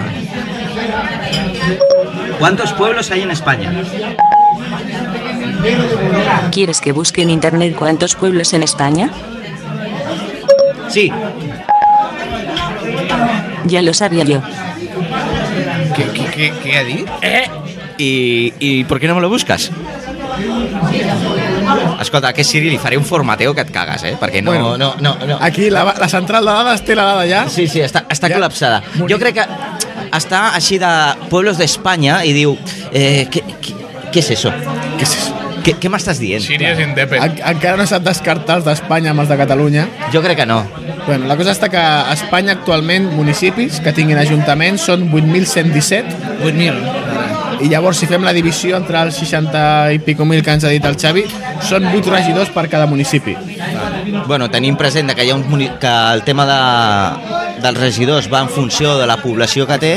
¿Cuántos pueblos hay en España?
¿Quieres que busque en internet cuántos pueblos en España?
Sí.
Ya lo sabía yo.
Què, què, què, què ha dit?
I, I per què no me lo busques? Escolta, a aquest Siri li faré un formateo que et cagues, eh? Perquè no...
Bueno.
no, no, no.
Aquí la, la central de dades té la dada ja.
Sí, sí, està, està
Ja.
col·lapsada. Jo crec que està així de pueblos d'Espanya i diu... Eh, què, què, què és això?
Què és això?
Què, què m'estàs dient?
Siri és independent.
En, encara no s'han descartat els d'Espanya amb els de Catalunya.
Jo crec que no.
Bueno, la cosa està que a Espanya actualment municipis que tinguin ajuntaments són 8.117
8.000.
i llavors si fem la divisió entre els 60 i pico mil que ens ha dit el Xavi són 8 regidors per cada municipi
Bueno, tenim present de que, hi ha un, muni- que el tema de, dels regidors va en funció de la població que té,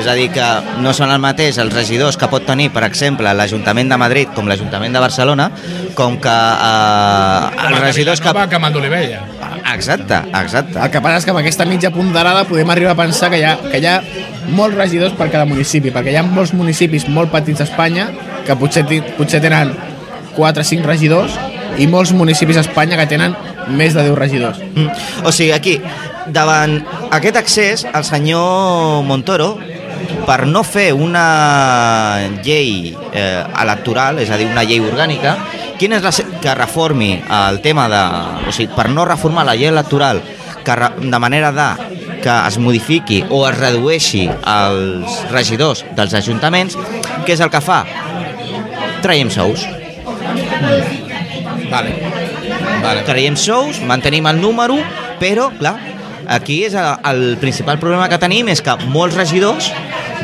és a dir, que no són el mateix els regidors que pot tenir, per exemple, l'Ajuntament de Madrid com l'Ajuntament de Barcelona, com que eh, els regidors que...
Villanova, que amb el d'Olivella.
Exacte, exacte.
el que passa és que amb aquesta mitja ponderada podem arribar a pensar que hi ha, que hi ha molts regidors per cada municipi perquè hi ha molts municipis molt petits a Espanya que potser, ti- potser tenen 4 o 5 regidors i molts municipis a Espanya que tenen més de 10 regidors
Mm. O sigui, aquí, davant aquest accés, el senyor Montoro, per no fer una llei eh, electoral, és a dir, una llei orgànica, quina és la se- que reformi el tema de... O sigui, per no reformar la llei electoral que, re- de manera de que es modifiqui o es redueixi els regidors dels ajuntaments, què és el que fa? Traiem sous.
Vale. Vale.
Traiem sous, mantenim el número, però, clar, aquí és el, el principal problema que tenim és que molts regidors,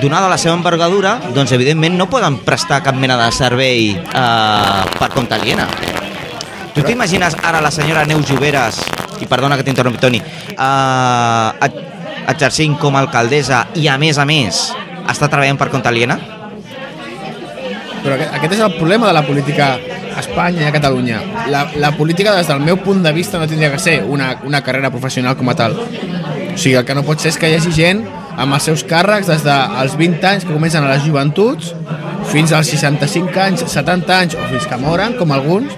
donada la seva envergadura, doncs evidentment no poden prestar cap mena de servei eh, per compte aliena. Tu t'imagines ara la senyora Neus Lloberes, i perdona que t'interrompi, Toni, eh, et- exercint com a alcaldessa i, a més a més, està treballant per compte aliena?
Però aquest, aquest és el problema de la política a Espanya i a Catalunya. La, la política, des del meu punt de vista, no tindria que ser una, una carrera professional com a tal. O sigui, el que no pot ser és que hi hagi gent amb els seus càrrecs des dels 20 anys que comencen a les joventuts fins als 65 anys, 70 anys o fins que moren, com alguns,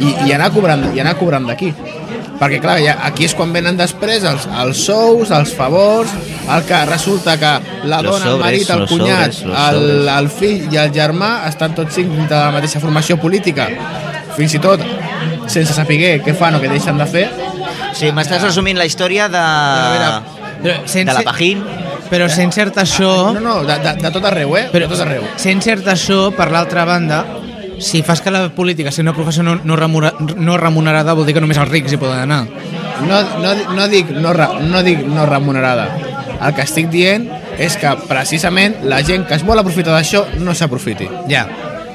i, i anar cobrant, i anar cobrant d'aquí. Perquè, clar, ja, aquí és quan venen després els, els sous, els favors, el que resulta que la
Los
dona, el
sobres,
marit, el
los
cunyat,
sobres, los
el,
sobres.
el fill i el germà estan tots cinc dintre de la mateixa formació política, fins i tot sense saber què fan o què deixen de fer.
Sí, m'estàs resumint la història de...
Però
de la
sense,
Pajín.
però sense cert això...
No, no, de, de, de tot arreu, eh? Però, de tot arreu.
Sent cert això, per l'altra banda, si fas que la política sigui una professió no, no, remura- no remunerada, vol dir que només els rics hi poden anar.
No, no, no, dic, no, re- no dic no remunerada. El que estic dient és que precisament la gent que es vol aprofitar d'això no s'aprofiti.
Ja.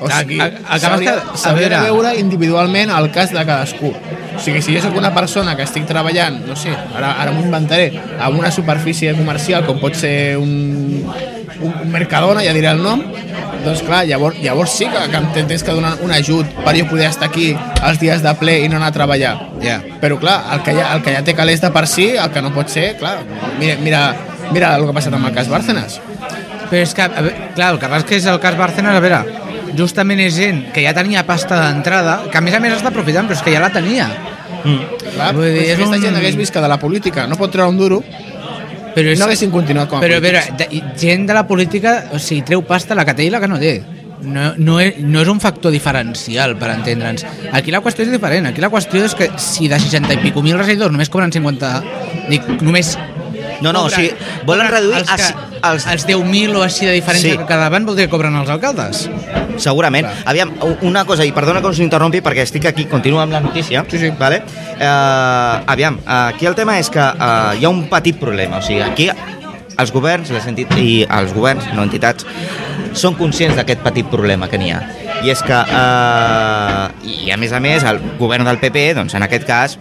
O sigui,
A- a- Ah, acabes
s'hauria
que- a
s'hauria de
veure-
veure individualment el cas de cadascú. O sigui, si jo sóc una persona que estic treballant, no sé, ara, ara m'ho inventaré, en una superfície comercial com pot ser un, un, un Mercadona, ja diré el nom, doncs clar, llavors, llavors sí que, que em ten- tens que donar un ajut per jo poder estar aquí els dies de ple i no anar a treballar.
Ja.
Però clar, el que, ja, el que ja té calés de per si, el que no pot ser, clar, mira, mira, mira el que ha passat amb el cas Bárcenas.
Però és que, a veure, clar, el que passa és que és el cas Barcelona, a veure, justament és gent que ja tenia pasta d'entrada, que a més a més està aprofitant, però és que ja la tenia.
Clar,
Vull dir,
si
és
aquesta
un-
gent hagués vist que de la política no pot treure un duro,
Però és,
no haguessin continuat com a
però, a veure,
polítics.
de, i gent de la política, o sigui, treu pasta la que té i la que no té. No, no, és, no és un factor diferencial, per entendre'ns. Aquí la qüestió és diferent. Aquí la qüestió és que si de 60 i pico mil residus només cobren 50... Dic, només...
No, no, o sigui, volen
cobren
reduir
els,
a
que,
si-
els,
els-
els 10.000 o així de diferència
Sí.
sí. que quedaven vol dir que cobren els alcaldes.
Segurament. Aviam, u- una cosa, i perdona que us interrompi perquè estic aquí, continuo amb la notícia. Sí, sí. Vale? Eh, aviam, aquí el tema és que eh, hi ha un petit problema. O sigui, aquí els governs les entit i els governs, no entitats, són conscients d'aquest petit problema que n'hi ha. I és que, eh, i a més a més, el govern del PP, doncs en aquest cas,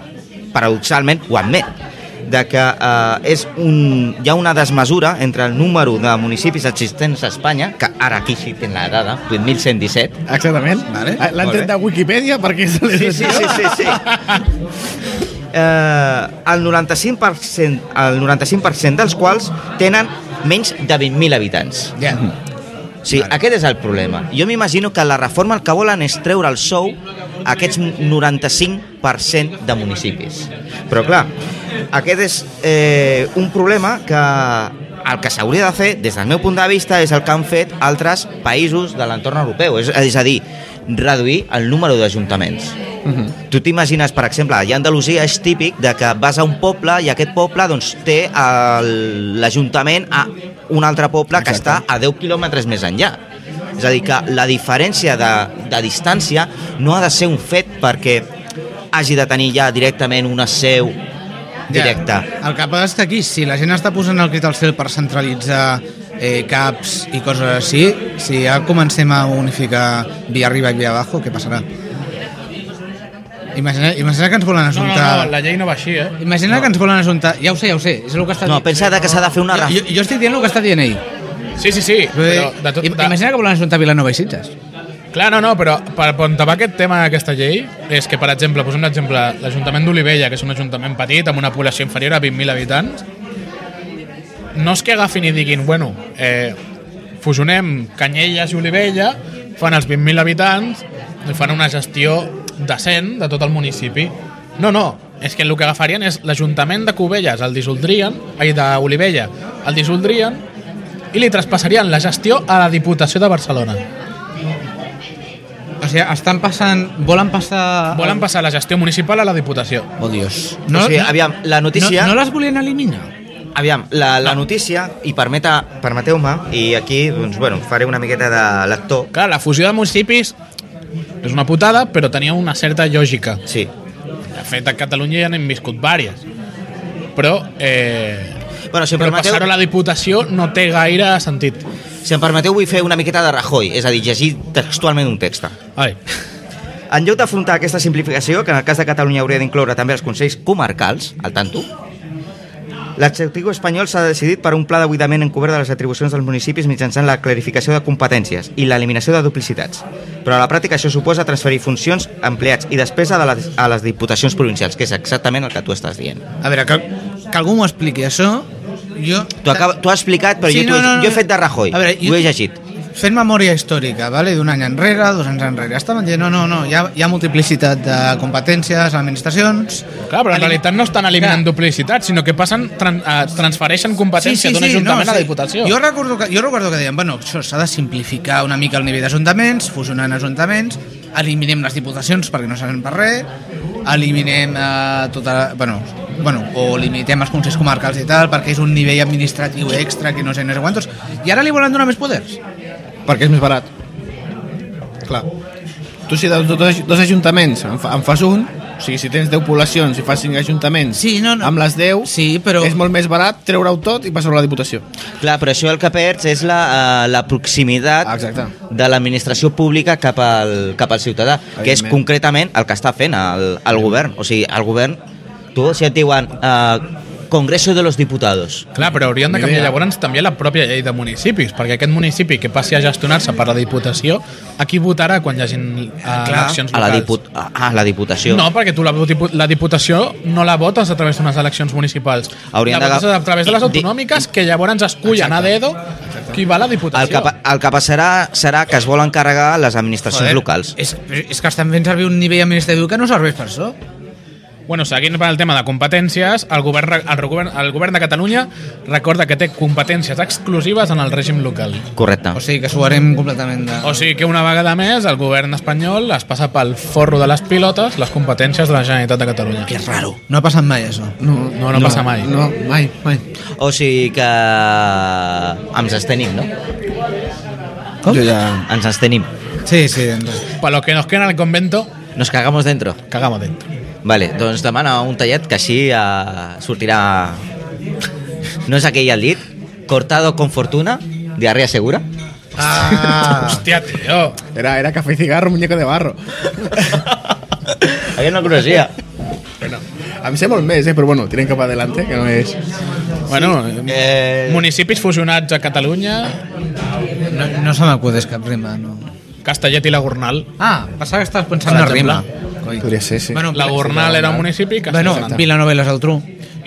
paradoxalment, ho admet de que eh, és un, hi ha una desmesura entre el número de municipis existents a Espanya, que ara aquí sí tenen la dada, 8.117.
Exactament.
Vale.
Ah, L'han
Molt
tret
bé.
de Wikipedia perquè és la
sí, sí. Eh, el 95%, el 95 dels quals tenen menys de 20.000 habitants. Mhm.
Ja.
Sí, vale. aquest és el problema. Jo m'imagino que la reforma el que volen és treure el sou a aquests 95% de municipis. Però clar, aquest és eh, un problema que el que s'hauria de fer, des del meu punt de vista, és el que han fet altres països de l'entorn europeu. És, és a dir, reduir el número d'ajuntaments. Tu t'imagines, per exemple, allà a Andalusia és típic de que vas a un poble i aquest poble doncs, té el- l'Ajuntament a un altre poble que està a 10 quilòmetres més enllà. És a dir, que la diferència de, de distància no ha de ser un fet perquè hagi de tenir ja directament una seu directa.
Ja. El que passa és que aquí, si la gent està posant el crit al cel per centralitzar eh, caps i coses així, si ja comencem a unificar via arriba i via abajo, què passarà? Imagina, imagina que ens volen
No, no,
assumptar...
no, la llei no va així, eh?
Imagina que ens volen assumptar... Ja ho sé, ja ho sé, és el que està
No,
dient.
pensa de que s'ha de fer una...
Jo, jo, jo estic dient el que està dient ell.
Sí, sí, sí.
Vull dir,
Però de tot,
im-
de,
Imagina que volen assumptar Vilanova i Sitges.
Clar, no, no, però per on va aquest tema d'aquesta llei és que, per exemple, posem un exemple, l'Ajuntament d'Olivella, que és un ajuntament petit amb una població inferior a 20.000 habitants, no és que agafin i diguin, bueno, eh, fusionem Canyelles i Olivella, fan els 20.000 habitants i fan una gestió decent de tot el municipi. No, no, és que el que agafarien és l'Ajuntament de Cubelles, el dissoldrien, ai, d'Olivella, el dissoldrien i li traspassarien la gestió a la Diputació de Barcelona.
O sigui, estan passant... Volen passar...
Volen passar la gestió municipal a la Diputació.
Oh, Dios.
No, o sigui, aviam, la notícia...
No, no les volien eliminar?
Aviam, la, la notícia, i permeta, permeteu-me, i aquí doncs, bueno, faré una miqueta de lector.
Clar, la fusió de municipis és una putada, però tenia una certa lògica.
Sí.
De fet, a Catalunya ja n'hem viscut vàries. Però, eh,
Bueno, si em,
però
permeteu,
passar-ho a la Diputació no té gaire sentit.
si em permeteu, vull fer una miqueta de Rajoy, és a dir, llegir textualment un text.
Ai.
En lloc d'afrontar aquesta simplificació, que en el cas de Catalunya hauria d'incloure també els consells comarcals, al tanto, l'executiu espanyol s'ha decidit per un pla de buidament encobert de les atribucions dels municipis mitjançant la clarificació de competències i l'eliminació de duplicitats. Però a la pràctica això suposa transferir funcions, empleats i despesa de les, a les diputacions provincials, que és exactament el que tu estàs dient.
A veure, que, que algú m'ho expliqui, això... Jo...
Tu, acaba, tu has explicat, però sí, jo, no, no, no. jo he fet de Rajoy,
A veure,
ho he llegit.
Fent memòria històrica, vale? d'un any enrere, dos anys enrere, estaven dient, no, no, no, hi ha, hi ha multiplicitat de competències, administracions...
Clar, però en realitat no estan eliminant duplicitat, sinó que passen, tran eh, transfereixen competència d'un ajuntament a la Diputació.
Jo recordo, que, jo recordo que deien, bueno, això s'ha de simplificar una mica el nivell d'ajuntaments, fusionant ajuntaments, eliminem les diputacions perquè no seran per res, eliminem eh, tota... Bueno, bueno, o limitem els consells comarcals i tal, perquè és un nivell administratiu extra que no sé, no sé quantos, i ara li volen donar més poders.
Perquè és més barat. Clar. Tu si de dos, dos ajuntaments en, fa, en fas un, o sigui, si tens 10 poblacions i fas 5 ajuntaments
Sí, no, no.
amb les 10,
Sí, però-
és molt més barat treure-ho tot i passar-ho a la Diputació.
Clar, però això el que perds és la, eh, la proximitat
Ah, Exacte.
de l'administració pública cap al, cap al ciutadà, que és
Evidentment.
concretament el que està fent el, el govern. O sigui, el govern, tu, si et diuen eh, Congreso de los Diputados,
Clar, però haurien de
Ni
canviar
idea.
llavors també la pròpia llei de municipis, perquè aquest municipi que passi a gestionar-se per la Diputació, a qui votarà quan hi hagin eh, eleccions
ah,
locals?
a la, diput a, a la Diputació,
No, perquè tu la, dipu- la Diputació no la votes a través d'unes eleccions municipals.
Haurien
la
d'agaf-
votes a través de les autonòmiques, que llavors escullen a dedo qui va a la
el, que,
Diputació.
pa- el que passarà serà que es volen carregar les administracions
Joder,
locals.
És, és que estan fent servir un nivell administratiu que no serveix per això.
Bueno, seguint per el tema de competències, el govern, re- el, govern, el govern de Catalunya recorda que té competències exclusives en el règim local.
Correcte.
O sigui que suarem completament de...
O sigui que una vegada més el govern espanyol es passa pel forro de les pilotes les competències de la Generalitat de Catalunya.
Que raro. No ha passat mai això.
No,
No, no passa mai.
No, mai, mai.
O sigui que eh, ens estenim, no?
Com?
Jo ja...
Ens estenim.
Sí, sí. Doncs...
Per lo que nos queda en el convento,
Nos cagamos dentro.
cagamos dentro.
Vale, doncs demana un tallet que així eh, sortirà... No és aquell al dit? Cortado con fortuna, diarrea segura.
Ah,
Hòstia, tio.
era, era café y cigarro, muñeco de barro.
Aquest no coneixia.
Bueno, a mí se molt més, eh? però bueno, tienen que para adelante, que no és...
Bueno,
Eh,
municipis fusionats a Catalunya,
No, no se m'acudeix cap rima, no.
Castellet i la Gornal.
Ah, passava que estaves pensant
Per
en una
exemple.
rima. Coi.
Podria ser, sí.
Bueno,
La Gornal era un municipi que...
Bueno,
Exacte.
Vilanova i la Geltrú.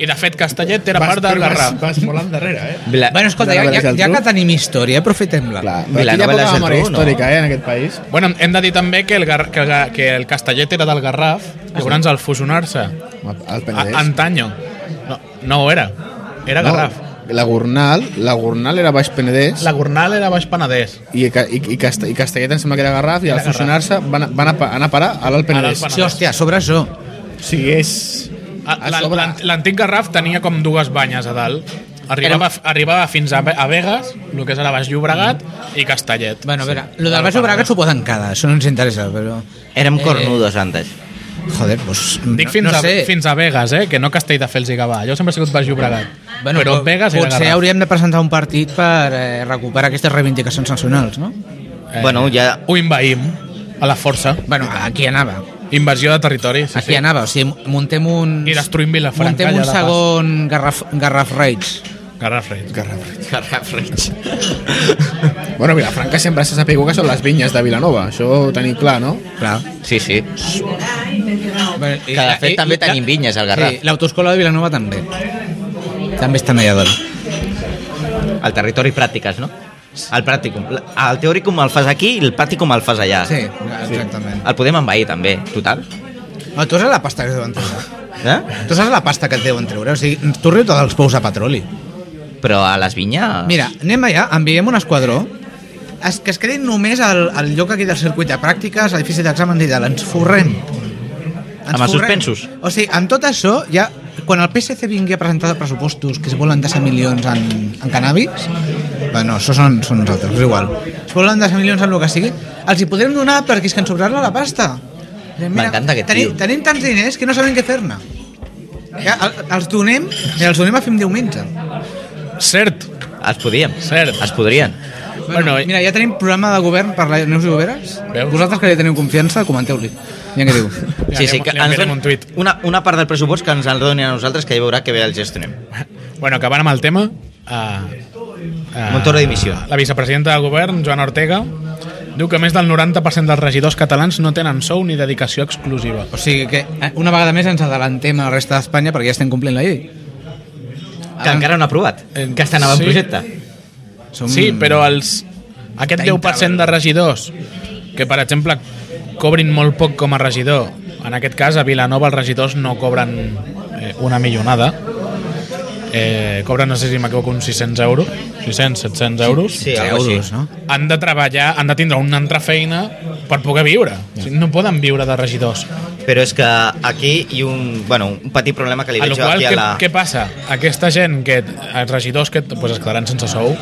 I de fet Castellet era
Vas-
part del
però vas-
Garraf.
Vas molt endarrere, eh?
Vila,
Bueno, escolta, ja,
Vilanova i la
ja, ja que
Geltrú.
tenim història, aprofitem-la.
Clar, però aquí hi ha
Vilanova i la
poca memòria
Geltrú, no.
històrica, eh, en aquest país.
Bueno, hem de dir també que el, Gar que el, Ga- que el Castellet era del Garraf, llavors al fusionar-se
Ah, Al
a-
Penedès.
antanyo. No, no ho era, era Garraf.
No, la Gornal, la Gornal era Baix Penedès
La Gornal era Baix Penedès.
i, ca- i, i, Casta, i Castellet em sembla que era Garraf i al fusionar-se van, a- van a, pa- anar a parar a l'Alt Penedès.
A l'Alt
Sí, hòstia, sobre això.
O sigui, és...
A-
A
la-
sobre-
l'ant- L'antic Garraf tenia com dues banyes a dalt. Arribava, arribava fins a, Ve- a Vegas, el que és ara Baix Llobregat, i Castellet.
Bueno, a veure, lo del Baix Obregat s'ho poden quedar, això no ens interessa, però... eh,
Érem cornudos antes.
Joder, doncs...
Dic
no,
fins,
no
a,
sé.
fins a Vegas, eh? que no Castelldefels i Gavà. Jo sempre he sigut Baix Llobregat. Bueno, però
po-
Vegas era
potser
Garraf.
hauríem de presentar un partit per eh, recuperar aquestes reivindicacions nacionals, no?
Eh,
Bueno, ja...
Ho invaïm a la força.
Bueno, aquí anava.
Invasió de territori. Sí,
Aquí
sí.
anava, o sigui, muntem un...
I destruïm Vilafranca,
Muntem
allà
un
de pas.
segon Garraf, Garraf Raids.
Garraf Reis.
Garraf Reig.
Bueno, Vilafranca sempre se sapigó que són les vinyes de Vilanova, això ho tenim clar, no?
Clar.
Sí, sí.
Bé, i-
Que de fet
i-
també
i-
tenim vinyes al
Sí,
Garraf.
l'autoescola de Vilanova també. També estan allà dalt.
El territori pràctiques, no? El pràcticum. El teòricum el fas aquí i el pràcticum el fas allà.
Sí, exactament.
El podem envair també, total.
No, tu saps la pasta que et deuen treure.
Eh?
Tu saps la pasta que et deuen treure? O sigui, tu riu tots els pous a petroli.
Però a les vinyes...
Mira, anem allà, enviem un esquadró es, que es quedin només al, al lloc aquí del circuit de pràctiques, a l'edifici d'examen i tal, ens forrem. Ens
Amb els suspensos.
O sigui, amb tot això, ja, quan el PSC vingui a presentar pressupostos que es volen de 100 milions en, en cannabis, bueno, això són, són nosaltres, és igual. Es volen de 100 milions en el que sigui, els hi podrem donar perquè és que ens sobrarà la pasta. Direm, mira,
M'encanta aquest
tenim,
tio.
tenim tants diners que no sabem què fer-ne. Ja, el- els donem, i els donem a fer un diumenge.
Cert.
Els podíem.
Cert.
Els podrien.
Bueno,
Bueno,
eh,
mira, ja tenim programa de govern per la Neus Lloberes.
Veus?
Vosaltres que li teniu confiança, comenteu-li. Ja què diu.
Ja,
sí,
li-
sí, que
li enviarem
don-
un tuit.
Una, una part del pressupost que ens el donin a nosaltres que ja veurà que bé el gestionem.
Bueno, acabant amb el tema... eh, eh,
Montoro dimissió.
La vicepresidenta del govern, Joana Ortega, diu que més del 90% dels regidors catalans no tenen sou ni dedicació exclusiva.
O sigui que eh, una vegada més ens adelantem a la resta d'Espanya perquè ja estem complint la llei.
Que encara no han aprovat.
Ah. Eh,
Que estan en
sí.
projecte.
Som...
Sí, però els, aquest 10% de regidors que, per exemple, cobrin molt poc com a regidor, en aquest cas a Vilanova els regidors no cobren eh, una millonada, eh, cobren, no sé si m'equivoco, uns 600 euros, 600, 700 euros,
Sí, algo així.
euros, no?
han de treballar, han de tindre una altra feina per poder viure. O sigui, no poden viure de regidors.
Però és que aquí hi ha un, bueno, un petit problema que li
A lo
veig jo
qual,
aquí a
què,
la...
què passa? Aquesta gent, que, els regidors que pues, es quedaran sense sou,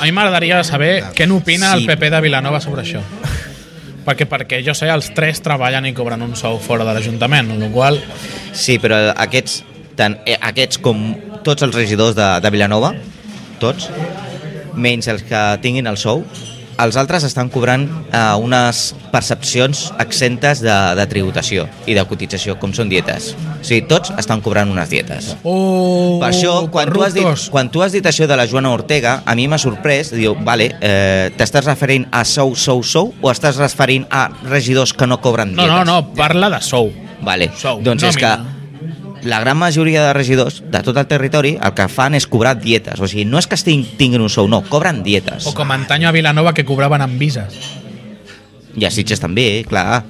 a mi m'agradaria saber què n'opina
Sí.
el PP de Vilanova sobre això. Perquè, perquè jo sé, els tres treballen i cobren un sou fora de l'Ajuntament, amb la qual cosa,
Sí, però aquests, tant eh, aquests com tots els regidors de, de Vilanova, tots, menys els que tinguin el sou, els altres estan cobrant eh, unes percepcions exemptes de, de tributació i de cotització, com són dietes. O sigui, tots estan cobrant unes dietes.
oh,
Per això, quan tu, has dit,
corruptos.
quan tu has dit això de la Joana Ortega, a mi m'ha sorprès, diu, vale, eh, t'estàs referint a sou, sou, sou, o estàs referint a regidors que no cobren
No,
dietes?
no, no, parla de sou.
Vale.
Sou,
doncs és que
nòmina.
la gran majoria de regidors de tot el territori el que fan és cobrar dietes. O sigui, no és que estin, tinguin un sou, no, cobren dietes.
O com antanyo a Vilanova que cobraven amb vises.
I a Sitges també, eh, clar.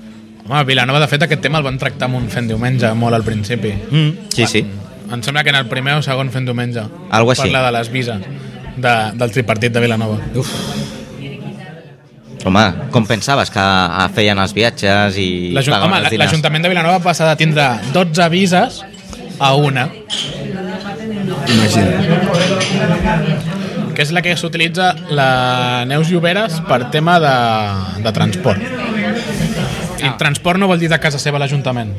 Home, a Vilanova, de fet, aquest tema el van tractar amb un fent diumenge, molt al principi.
Mm, sí, sí.
Em sembla que en el primer o segon fent diumenge.
Algo així.
Parla de les vises de, del tripartit de Vilanova.
Home, com pensaves que ah, feien els viatges i...
L'Ajun-
pagaven
Home,
els
la-
dinars?
l'Ajuntament de Vilanova passa de tindre 12 vises a una,
Imagina.
que és la que s'utilitza la Neus Lloberes per tema de, de transport.
Ah.
I transport no vol dir de casa seva a l'Ajuntament,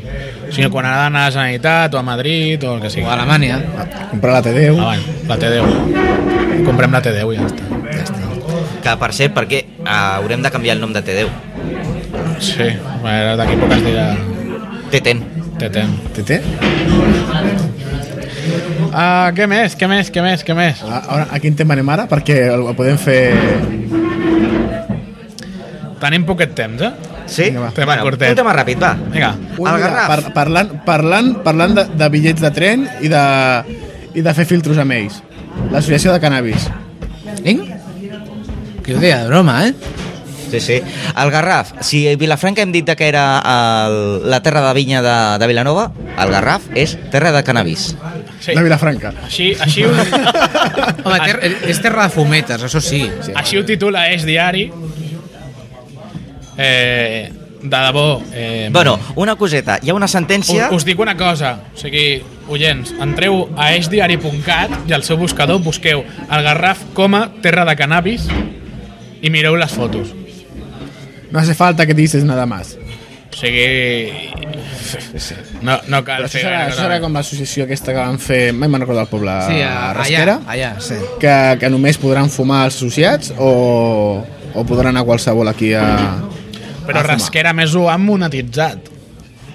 sinó quan ha d'anar a la Generalitat o a Madrid o el que sigui.
O a Alemanya.
Comprar la T10.
Ah, bueno, la T10. Comprem la T10 i ja està.
Que, per cert, perquè ah, haurem de canviar el nom de T10.
Sí, bueno, d'aquí poc es dirà
T10.
T10.
TT?
Ah, què més, què més, què més, què més?
A, a, a quin tema anem Ah, ara? Perquè el, el podem fer...
Tenim poquet temps, eh?
Sí?
Vinga, va.
Tema curtet.
un tema ràpid, va.
Vinga,
Ui,
Al
mira,
Garraf.
par, parlant, parlant, parlant de, de bitllets de tren i de, i de fer filtros amb ells. L'associació de cannabis.
Vinc? Que ho deia de broma, eh?
Sí, sí. El Garraf, si Vilafranca hem dit que era el, la terra de vinya de, de Vilanova, el Garraf és terra de cannabis.
sí.
De Vilafranca.
Així, així, ho,
Home, ter és terra de fumetes, això sí.
així ho titula És Diari. Eh, de debò... Eh,
Bueno, una coseta, hi ha una sentència...
us, us dic una cosa, o sigui, oients, entreu a esdiari.cat i al seu buscador busqueu el Garraf com a terra de cannabis i mireu les fotos.
No hace falta que dices nada más.
O sigui... No, no cal
Però això
fer
serà,
gaire
això serà
cosa.
com l'associació aquesta que van fer, mai me'n recordo el poble,
Sí,
a
a,
Rasquera,
allà, allà, sí.
que, que només podran fumar els associats o, o podran anar qualsevol aquí a...
Però
a fumar?
Rasquera més ho han monetitzat.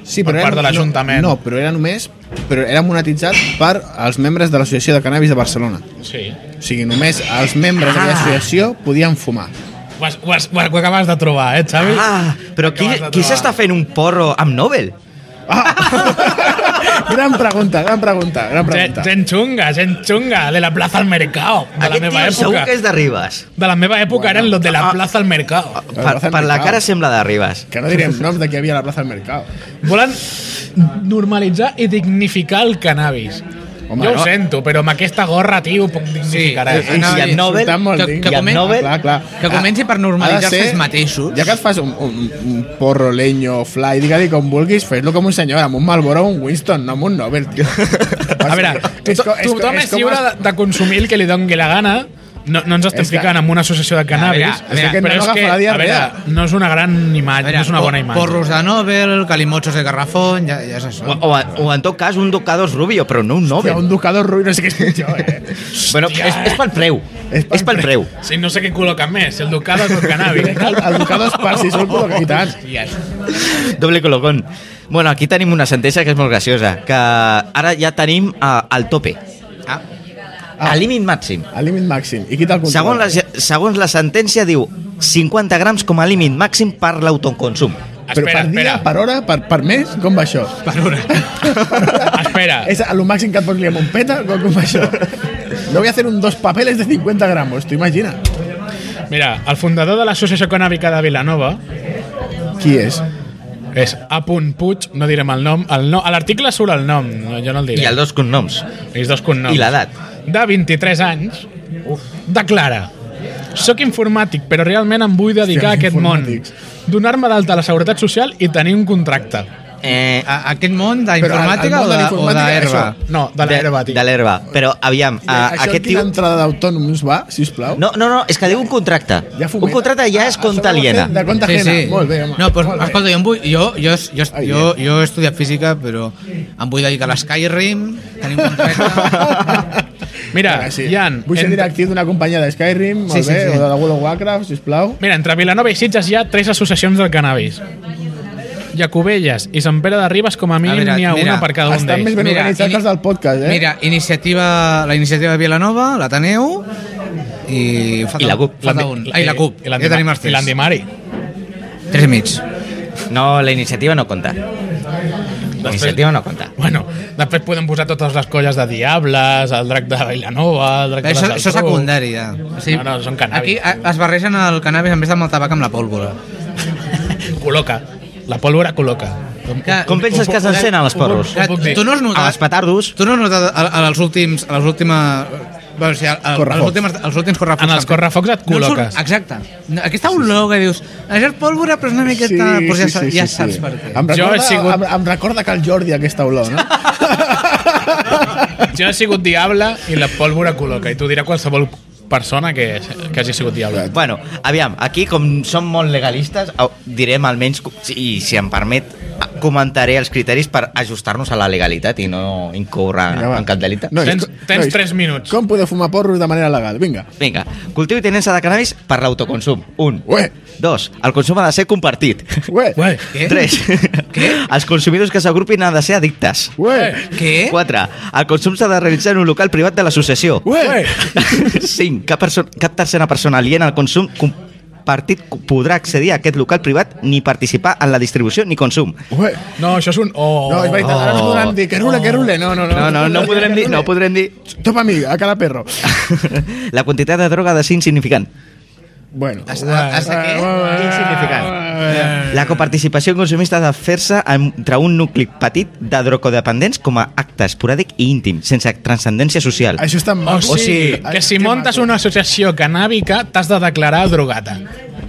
Sí,
per part de
no-
l'Ajuntament.
No, però era només però era monetitzat per als membres de l'Associació de Cannabis de Barcelona.
Sí.
O sigui, només els membres ah. de l'associació podien fumar.
Ho, has, ho, has, ho acabes de trobar, eh, Xavi?
Ah, però qui,
Acabes de
qui
trobar.
s'està fent un porro amb Nobel?
gran pregunta, gran pregunta, gran
Gent,
pregunta.
gent xunga, gent xunga, de la plaza al mercado, de la
Aquest
meva
tio segur
època.
que és de Ribes.
De la meva època eren los de
ah.
la plaza al mercado.
Per, per la cara sembla de Ribes.
Que no direm noms de qui hi havia a la plaça del Mercat.
Volen normalitzar i dignificar el cannabis. Home,
Home,
jo ho
no.
sento, però amb aquesta gorra, tio, puc dignificar
Eh,
sí,
Sí,
Eh, I
no,
si
i
et Nobel...
insultant molt,
que-
dic.
que
I et
comen-
Nobel- clar, clar.
que comenci per
Ha-
normalitzar-se
ha de ser-
ells mateixos.
Ja que et fas un, un, un porro, lenyo, fly, digue-li com vulguis, fes-lo com un senyor, amb un Marlboro o un Winston, no amb un Nobel, tio.
A veure,
És co-
tothom
és co-
tothom és
com
lliure de,
els-
de consumir el que li doni la gana, no, no ens estem
És que-
ficant en una associació de cannabis,
A veure, és que
però
no
és
agafa
que,
la
a veure,
diarrea.
no és una gran imatge, no és una bona
por-
imatge.
Porros de Nobel, calimochos de Garrafón, ja, ja és
O,
això.
o, o en tot cas un Ducados Rubio, però no un
Hòstia,
Nobel.
un ducador ruï, no sé què és pitjor, eh?
Bueno, és, és pel preu. És pel preu.
Sí, no sé què col·loquen més, el ducado o el cannabis.
El, el ducador és per si sol, però i tant.
Doble colocón. Bueno, aquí tenim una sentència que és molt graciosa, que ara ja tenim eh, al tope,
Ah,
ah. al límit màxim.
Al límit màxim. I qui te'l controla?
Segons la, segons la sentència diu 50 grams com a límit màxim per l'autoconsum.
Però
Espera,
per dia,
espera.
per hora, per, per mes, com va això?
Per una. Espera.
És el màxim que et pots liar amb un peta? Com, com va això? No voy a hacer un dos papeles de 50 gramos, t'ho imagina?
Mira, el fundador de l'Associació Cannàbica de Vilanova
Qui és?
és A. Puig, no direm el nom, el no, a l'article surt el nom, no, jo no el diré.
I els dos cognoms.
Els dos cognoms.
I l'edat.
De 23 anys, Uf. declara Soc informàtic, però realment em vull dedicar a
Hòstia,
aquest món.
informàtics.
Donar-me d'alta a la Seguretat Social i tenir un contracte.
Eh,
a, aquest món
Però al- al
d'informàtica
món
o
de
de-
la
o
informàtica,
d'herba?
això.
No, de l'herba, tio.
De l'herba. Però, aviam,
Uh,
a,
això
Ah, aquest tio...
quina entrada d'autònoms va, sisplau?
No, no, no, és que diu un contracte.
Ja fumeta.
un contracte ja és
Ah,
compte
això ho va fer
aliena.
De compte
Sí,
aliena.
sí.
Molt bé, home.
No, pues,
Molt bé.
escolta, jo, em vull, jo, jo, jo,
Ai,
jo, jo he estudiat física, però em vull dedicar a l'Skyrim, tenim un contracte...
Mira,
Vinga, sí.
Jan,
Vull ser
entre-
directiu d'una companyia de Skyrim, molt
Sí, sí,
bé,
sí.
o de la World of Warcraft, sisplau.
Mira, entre Vilanova i Sitges hi ha tres associacions del cannabis. Jacobelles i Sant Pere de Ribes com a mínim
veure,
n'hi ha
mira,
una per cada un
Estan més
d'ells.
ben
Mira,
organitzats
ini-
que els del podcast, eh?
Mira, iniciativa, la iniciativa de Vilanova, l'Ateneu, i, falta,
I la CUP.
Falta un. Ai, la CUP.
eh, I
Ja
l'Andi-
tenim els
I l'Andi
tres.
Mari.
Tres i mig.
No, la iniciativa no compta. La iniciativa no compta.
Bueno, després podem posar totes les colles de Diables, el drac de Vilanova, el drac de
Això,
les
això és
Altrú.
secundari, ja. O
No, no, són cannabis.
Aquí a, es barregen el cannabis en vez del tabac amb la pólvora.
Col·loca. La pólvora col·loca.
Que,
Com penses que s'encenen els porros?
Ho puc dir.
tu no has
Amb els
notat...
petardos,
Tu no has notat a, a, als últims... A les últimes... Bueno, o sigui, a, a,
Correfocs.
als últims, als últims correfocs.
En els
també.
correfocs et
No et surt-
col·loques.
exacte. No, Aquesta olor que dius... Això és pólvora, però és una miqueta... Sí, doncs ja, sí, ja saps per què.
Em
Jo
recorda,
he sigut-
em, em recorda que el Jordi aquesta olor, no?
Jo he sigut diable i la pólvora col·loca. I t'ho dirà qualsevol persona que, que hagi sigut diable.
Bueno, aviam, aquí com som molt legalistes, au, direm almenys, co- si- i si em permet, a- comentaré els criteris per ajustar-nos a la legalitat i no incórrer
Vinga, va.
en cap delicte.
Nois,
Tens-
co-
tens tres minuts.
Com podeu fumar porros de manera legal? Vinga.
Vinga, cultiu i tenença de cannabis per l'autoconsum. Un.
Ué.
Dos, el consum ha de ser compartit.
Ué. Ué.
Ué,
Què?
Tres, els consumidors que s'agrupin han de ser addictes.
Ué.
Què?
Quatre, el consum s'ha de realitzar en un local privat de l'associació.
Ué.
5. Cap, perso- cap tercera persona aliena al consum compartit podrà accedir a aquest local privat ni participar en la distribució ni consum.
Ué.
no, això és un... Oh.
No, és veritat, ara no podran dir que rule, que rule. No, no, no.
No, no, no podrem dir, no podrem dir.
Topa mi, a cara perro.
La quantitat de droga ha de ser insignificant.
Bueno.
Hasta què? Ah,
Insignificant. La coparticipació consumista ha de fer-se entre un nucli petit de drocodependents com a acte esporàdic i íntim, sense transcendència social.
Això està
O
mal.
sigui, Oh, que si montes una associació canàbica t'has de declarar drogata.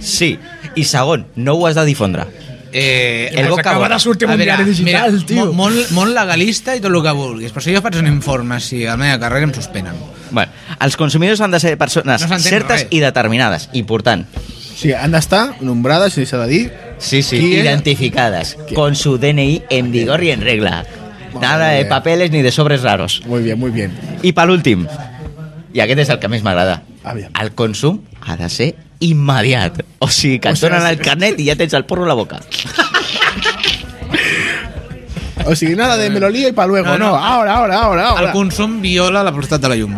Sí. I segon, no ho has de difondre.
Eh,
El
Ens
boca a
acaba
boca.
de sortir
A
un
veure,
diari digital,
mira,
tio.
mo- Molt, molt legalista i tot el que vulguis, però si jo faig un informe si a la meva carrera em suspenen.
Bueno, els consumidors han de ser persones
No s'entén
certes
res.
i determinades. Important.
O sigui, han d'estar nombrades, si s'ha de dir,
Sí, sí.
¿Quién?
Identificadas.
¿Quién?
Con su DNI en vigor y en regla.
Madre
Nada de
mía.
papeles ni de sobres raros.
Muy bien, muy bien.
I per últim, i aquest és el que més m'agrada,
Aviam.
el consum ha de ser immediat. O sigui, que et donen el carnet i ja tens el porro a la boca.
O sigui, nada de me lo lío y pa luego. No,
No, no.
ahora, ahora, ahora.
El
ahora.
consum viola la velocitat de la llum.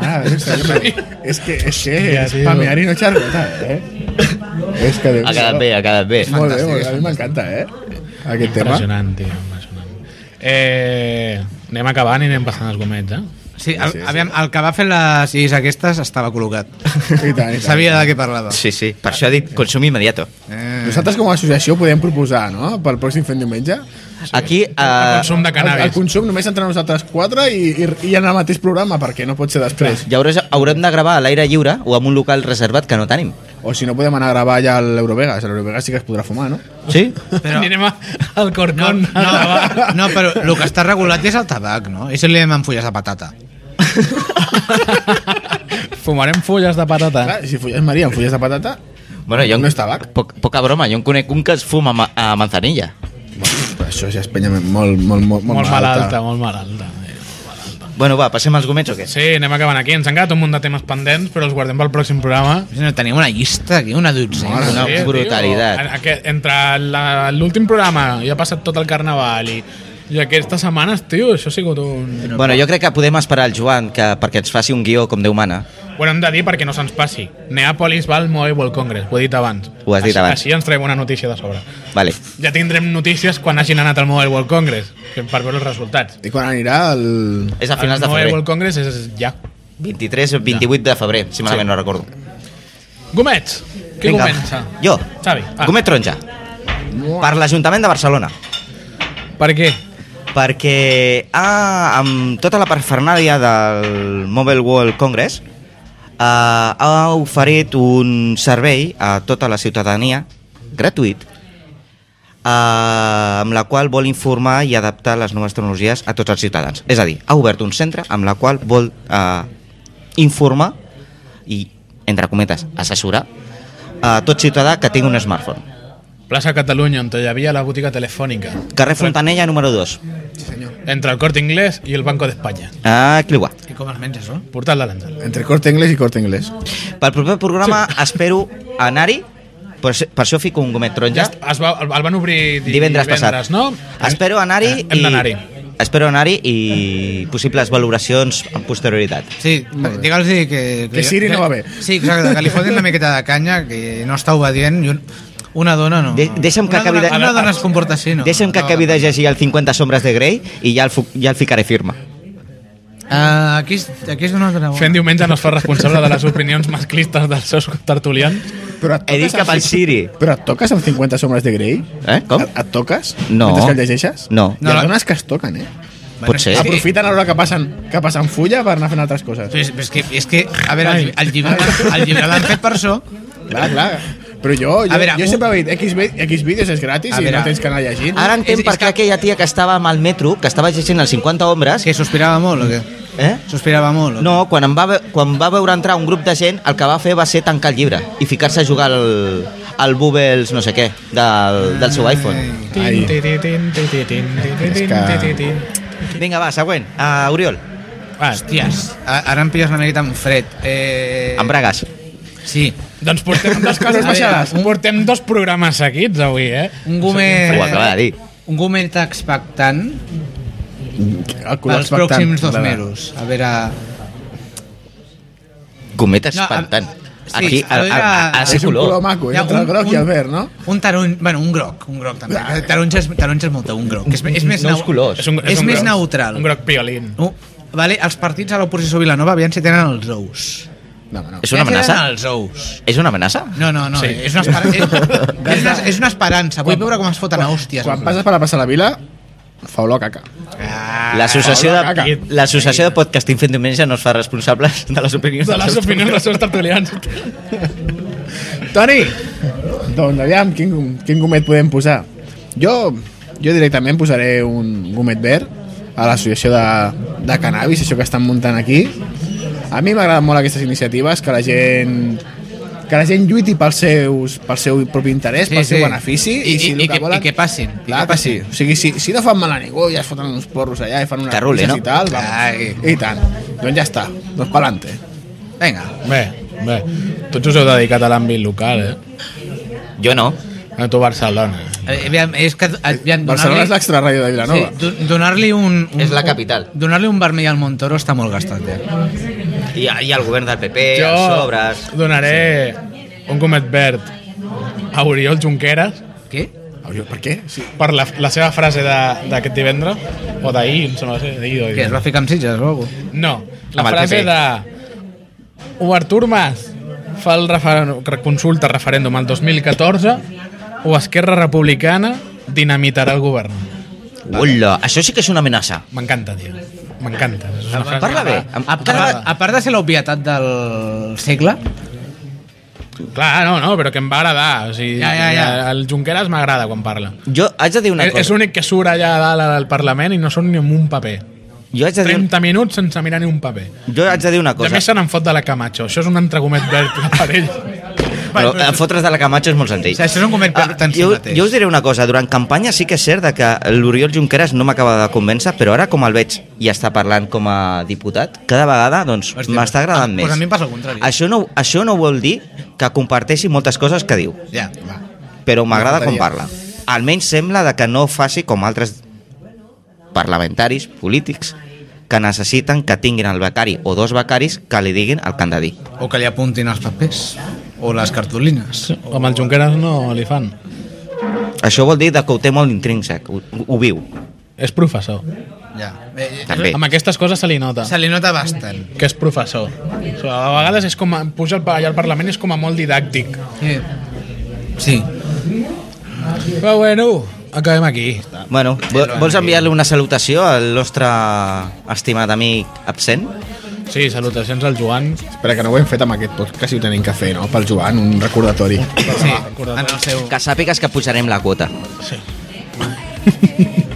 Madre, es que- eh, es que es, que
Hostia,
es
tío.
spamear y no charlar, ¿eh? Es que de
Ha quedat bé, ha quedat bé.
Molt bé,
Fantàstic,
molt bé,
és
a mi m'encanta, eh? Aquest tema.
Impressionant, tio, impressionant. Eh, anem acabant i anem passant els gomets, eh?
Sí,
Sí,
el,
sí, sí.
aviam, el que va fer les sis aquestes estava col·locat.
I tant, i tant.
Sabia de què parlava.
Sí, sí, per això he dit consum immediato.
Eh,
Nosaltres com a associació podem proposar, no?, pel pròxim fent diumenge,
Aquí, eh,
Consum de
el, el
cannabis.
consum només entre nosaltres quatre i, i, i en el mateix programa, perquè no pot ser després.
llavors haurem de gravar a l'aire lliure o en un local reservat que no tenim.
O si no podem anar a gravar ja a l'Eurovegas, a l'Eurovegas sí que es podrà fumar, no?
Sí?
Però... Anirem a- al
no,
Corcón.
no, no, però el que està regulat és el tabac, no? Això li demanem fulles de patata.
Fumarem fulles de patata.
Clar, si fulles Maria amb fulles de patata,
Bueno, jo,
No és tabac.
Poc, poca broma, jo en conec un que es fuma ma- a manzanilla.
bueno, però això ja és penya molt, molt, molt,
Molt,
molt,
molt malalta,
malalta.
molt malalta.
Bueno, va, passem als gomets o què?
Sí, anem acabant aquí. Ens han quedat un munt de temes pendents, però els guardem pel pròxim programa.
No, tenim una llista aquí, una dotzena.
Una
Sí,
brutalitat.
tio. Aquest- Entre la- l'últim programa i ha passat tot el carnaval i, i aquestes setmanes, tio, això ha sigut un...
Bueno, jo crec que podem esperar el Joan que, perquè ens faci un guió com Déu mana.
Bueno, hem de dir perquè no se'ns passi. Neapolis va al Mobile World Congress, ho he dit abans.
Ho has dit
així,
abans.
Així ens traiem una notícia de sobre.
Vale.
Ja tindrem notícies quan hagin anat al Mobile World Congress, que- per veure els resultats.
I quan anirà el...
És a finals
el
de
Mobile
febrer.
World Congress és ja.
23 o 28 de febrer, si malament no recordo.
Gomets! Qui comença? Ah.
Jo.
Xavi.
Ah. Gomet taronja. Per l'Ajuntament de Barcelona.
Per què?
Perquè ah, amb tota la parafernàlia del Mobile World Congress eh, ha oferit un servei a tota la ciutadania gratuït eh, amb la qual vol informar i adaptar les noves tecnologies a tots els ciutadans. És a dir, ha obert un centre amb la qual vol eh, informar i, entre cometes, assessorar a tot ciutadà que tingui un smartphone.
Plaça Catalunya, on hi havia la botiga telefònica.
Carrer Fontanella número 2,
Entre el Corte Inglés i el Banco d'Espanya.
a Cliuà.
I com els menges, no?
Portal de l'Àngel.
Entre corte anglès i corte anglès.
Pel proper programa espero anar-hi, per, això- per això fico un gomet
Ja
taronja,
es- es va, el van obrir di-
divendres, passat.
no?
Espero anar-hi
Eh, hem d'anar-hi.
Espero anar-hi i possibles valoracions amb posterioritat.
Sí, digue'ls que, que...
Que Siri no va bé.
Sí, exacte, que li fotin una miqueta de canya, que no està obedient, i un, una dona no.
De- deixa'm que
una
acabi de-
dona, Una dona es comporta així, no?
Deixa'm que
no,
acabi de llegir el 50 sombres de Grey i ja el, fu- ja el ficaré firma.
Uh, aquí, és, aquí és una altra bona.
Fent diumenge no es fa responsable de les opinions masclistes dels seus tertulians.
Però et
He dit
toques
cap
amb
al Siri.
Però et toques amb 50 sombres de Grey?
Eh? Com?
Et, et toques?
No.
Mentre que el llegeixes?
No.
Hi
No,
ha
la-
dones que es toquen, eh?
Potser. Sí.
Sí. Aprofiten a l'hora que passen, que passen fulla per anar fent altres coses.
Però és, però és, que, és que, a veure, el, lli- el llibre, el llibre l'han fet per això.
Clar, clar. Però jo, jo,
A veure,
jo
un-
sempre he dit, X, vi- X vídeos és gratis
A
i
veure.
no tens que anar llegint.
Ara entenc
És-
per
és
què
que-
aquella tia que estava amb el metro, que estava llegint els 50 ombres...
Que sospirava molt, o què?
Eh?
Sospirava molt. o què?
No, quan, em va, ve- quan va veure entrar un grup de gent, el que va fer va ser tancar el llibre i ficar-se a jugar al, al Bubbles no sé què del, del seu iPhone.
Ai. que-
Vinga, va, següent. Uh, Oriol,
Ah,
Hòsties, a- ara em pilles una miqueta amb fred. Eh...
amb bragues.
Sí.
doncs portem dos
A
coses
veure,
baixades.
un-
Portem dos programes seguits avui, eh?
Un gomet...
Ho acaba de dir.
Un gomet expectant
El cul
pels
expectant.
pròxims dos
Va, va.
mesos. A veure...
Gomet
No, a-
espantant.
sí,
Aquí,
a
a, a, a, a,
És
ser
un color
color.
maco,
Hi
és
ha
entre el
un-
groc i el
un-
verd, no? Ah.
Un taron... Bueno, un groc, un groc també. Taronja és, taronja és molt teu, un groc. que És, és més
Nous
nau-
colors.
És, un,
És
un
més
groc-
neutral.
Un groc piolín.
Uh, vale, els partits a l'oposició Vilanova aviam si tenen els ous.
No, no.
És una
Ja
amenaça?
Tenen els ous.
És una amenaça?
No, no, no,
Sí.
sí. és, una esperança, és, una, és una esperança. Vull veure com es foten a hòsties.
Quan passes per la Passa la Vila, fa olor a caca.
Ah,
L'associació
Paula,
de,
caca.
l'associació de podcasting fent diumenge no es fa responsable de les opinions
De les
seus
opinions dels seus tertulians.
Toni! Doncs aviam, quin, quin gomet podem posar? Jo, jo directament posaré un gomet verd a l'associació de, de cannabis, això que estan muntant aquí. A mi m'agraden molt aquestes iniciatives, que la gent que la gent lluiti pels seus, pel seu propi interès, sí, pel seu benefici
I, i,
el
i, que, i que passin. i
Clar
que
que
passin.
sí. O sigui, si, si no fan mal a ningú, ja es foten uns porros allà i fan una
Carrule,
risas
no?
i tal. Vamos.
Ai.
I tant. Doncs ja està. Doncs pa'lante.
Vinga.
Bé, bé. Tots us heu dedicat a l'àmbit local, eh?
Jo no.
A tu Barcelona.
Eh, Aviam, és que... Aviam,
Barcelona és
donar-li-
l'extra ràdio de
Sí,
Vilanova.
do- donar-li un, un...
És la capital.
Donar-li un vermell al Montoro està molt gastat, eh. ja.
I, I el govern del PP, jo... els sobres...
Jo donaré un comet verd a Oriol Junqueras
Què?
Sí. Ah, Per què? Sí.
per la, la seva frase de- d'aquest divendres, o d'ahir, em sembla que va ser, d'ahir o
Què, es
d'ahir.
va ficar amb Sitges o alguna cosa?
No, la
Amb el
frase
PP.
de... O Artur Mas fa el referen consulta referèndum al 2014 o Esquerra Republicana dinamitarà el govern.
Ula, això sí que és una amenaça.
M'encanta, tio. M'encanta. És una frase
Parla
que
bé.
fa-
Em,
A
em
part,
parla...
a part de ser l'obvietat del segle,
Clar, no, no, però que em va agradar. O sigui,
Ja, ja, ja.
El Junqueras m'agrada quan parla.
Jo haig de dir una
És, és
cosa.
l'únic que surt allà a dalt al Parlament i no surt ni amb un paper.
Jo haig de dir,
30 minuts sense mirar ni un paper.
jo haig de dir una
Cosa. A
cosa.
més se n'en fot de la Camacho. Això és un entregomet verd per ell.
Però eh, fotre's de la Camacho és molt senzill. Ah,
O sigui, això és un coment per tant si
jo,
mateix.
jo us diré una cosa, durant campanya sí que és cert de que l'Oriol Junqueras no m'acaba de convèncer, però ara com el veig i està parlant com a diputat, cada vegada doncs
Hòstia,
m'està agradant
ah,
més.
doncs a mi em passa el contrari.
Això no, això no vol dir que comparteixi moltes coses que diu,
ja, va.
però m'agrada com
faltaria.
parla. Almenys sembla de que no faci com altres parlamentaris, polítics, que necessiten que tinguin el becari o dos becaris que li diguin el que han de dir.
O que li apuntin els papers. O les cartolines.
Amb el Junqueras no li fan.
Això vol dir de que ho té molt intrínsec, ho, ho viu.
És professor.
Ja. Eh, eh,
També.
Amb aquestes coses se li nota
Se li nota bastant.
que és professor. O sigui, a vegades és com a, puja al- allà al Parlament i és com a molt didàctic.
Eh. Sí.
Però bueno, acabem aquí.
Bueno, vo- vols enviar-li una salutació al nostre estimat amic absent?
Sí, salutacions al Joan.
Espera, que no ho hem fet amb aquest podcast i ho tenim que fer, no? Pel Joan, un recordatori.
sí. En el seu...
Que sàpigues que pujarem la quota.
Sí.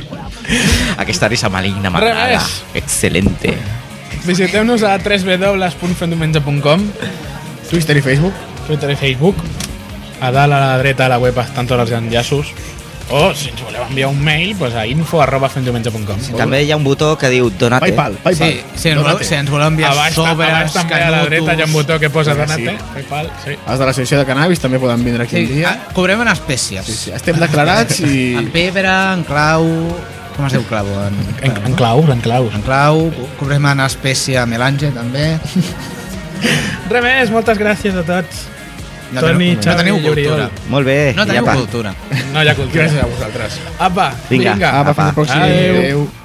Aquesta risa maligna m'agrada.
Res.
Excelente.
Visiteu-nos a www.fendomenja.com
Twitter i Facebook.
Twitter i Facebook. A dalt a la dreta a la web estan tots els enllaços. O, si ens voleu enviar un mail, pues a info arroba fendiumenge.com.
També hi ha un botó que diu donate.
Paypal, Paypal.
Sí, si ens, voleu, si ens voleu enviar
A baix,
sobres,
a baix també a la dreta hi ha un botó que posa
Crec que sí.
Donate. Paypal, sí.
Els de l'associació de cannabis també poden vindre aquí sí. un
Sí,
dia.
ah, cobrem en espècies.
Sí, sí. Estem declarats i...
En pebre, en clau... Com es diu clau? En,
En, en claus, en claus.
en clau, co- cobrem en espècie a melange, també.
Res més, moltes gràcies a tots.
No
Toni,
teniu, no
Xavi
teniu
i
cultura.
Oriol.
Molt bé.
No
i
teniu
apa.
cultura.
No hi ha cultura.
Gràcies a vosaltres.
Apa,
Vinga,
vinga.
Apa, fins
Apa.
la pròxima.
Adéu.
Adéu.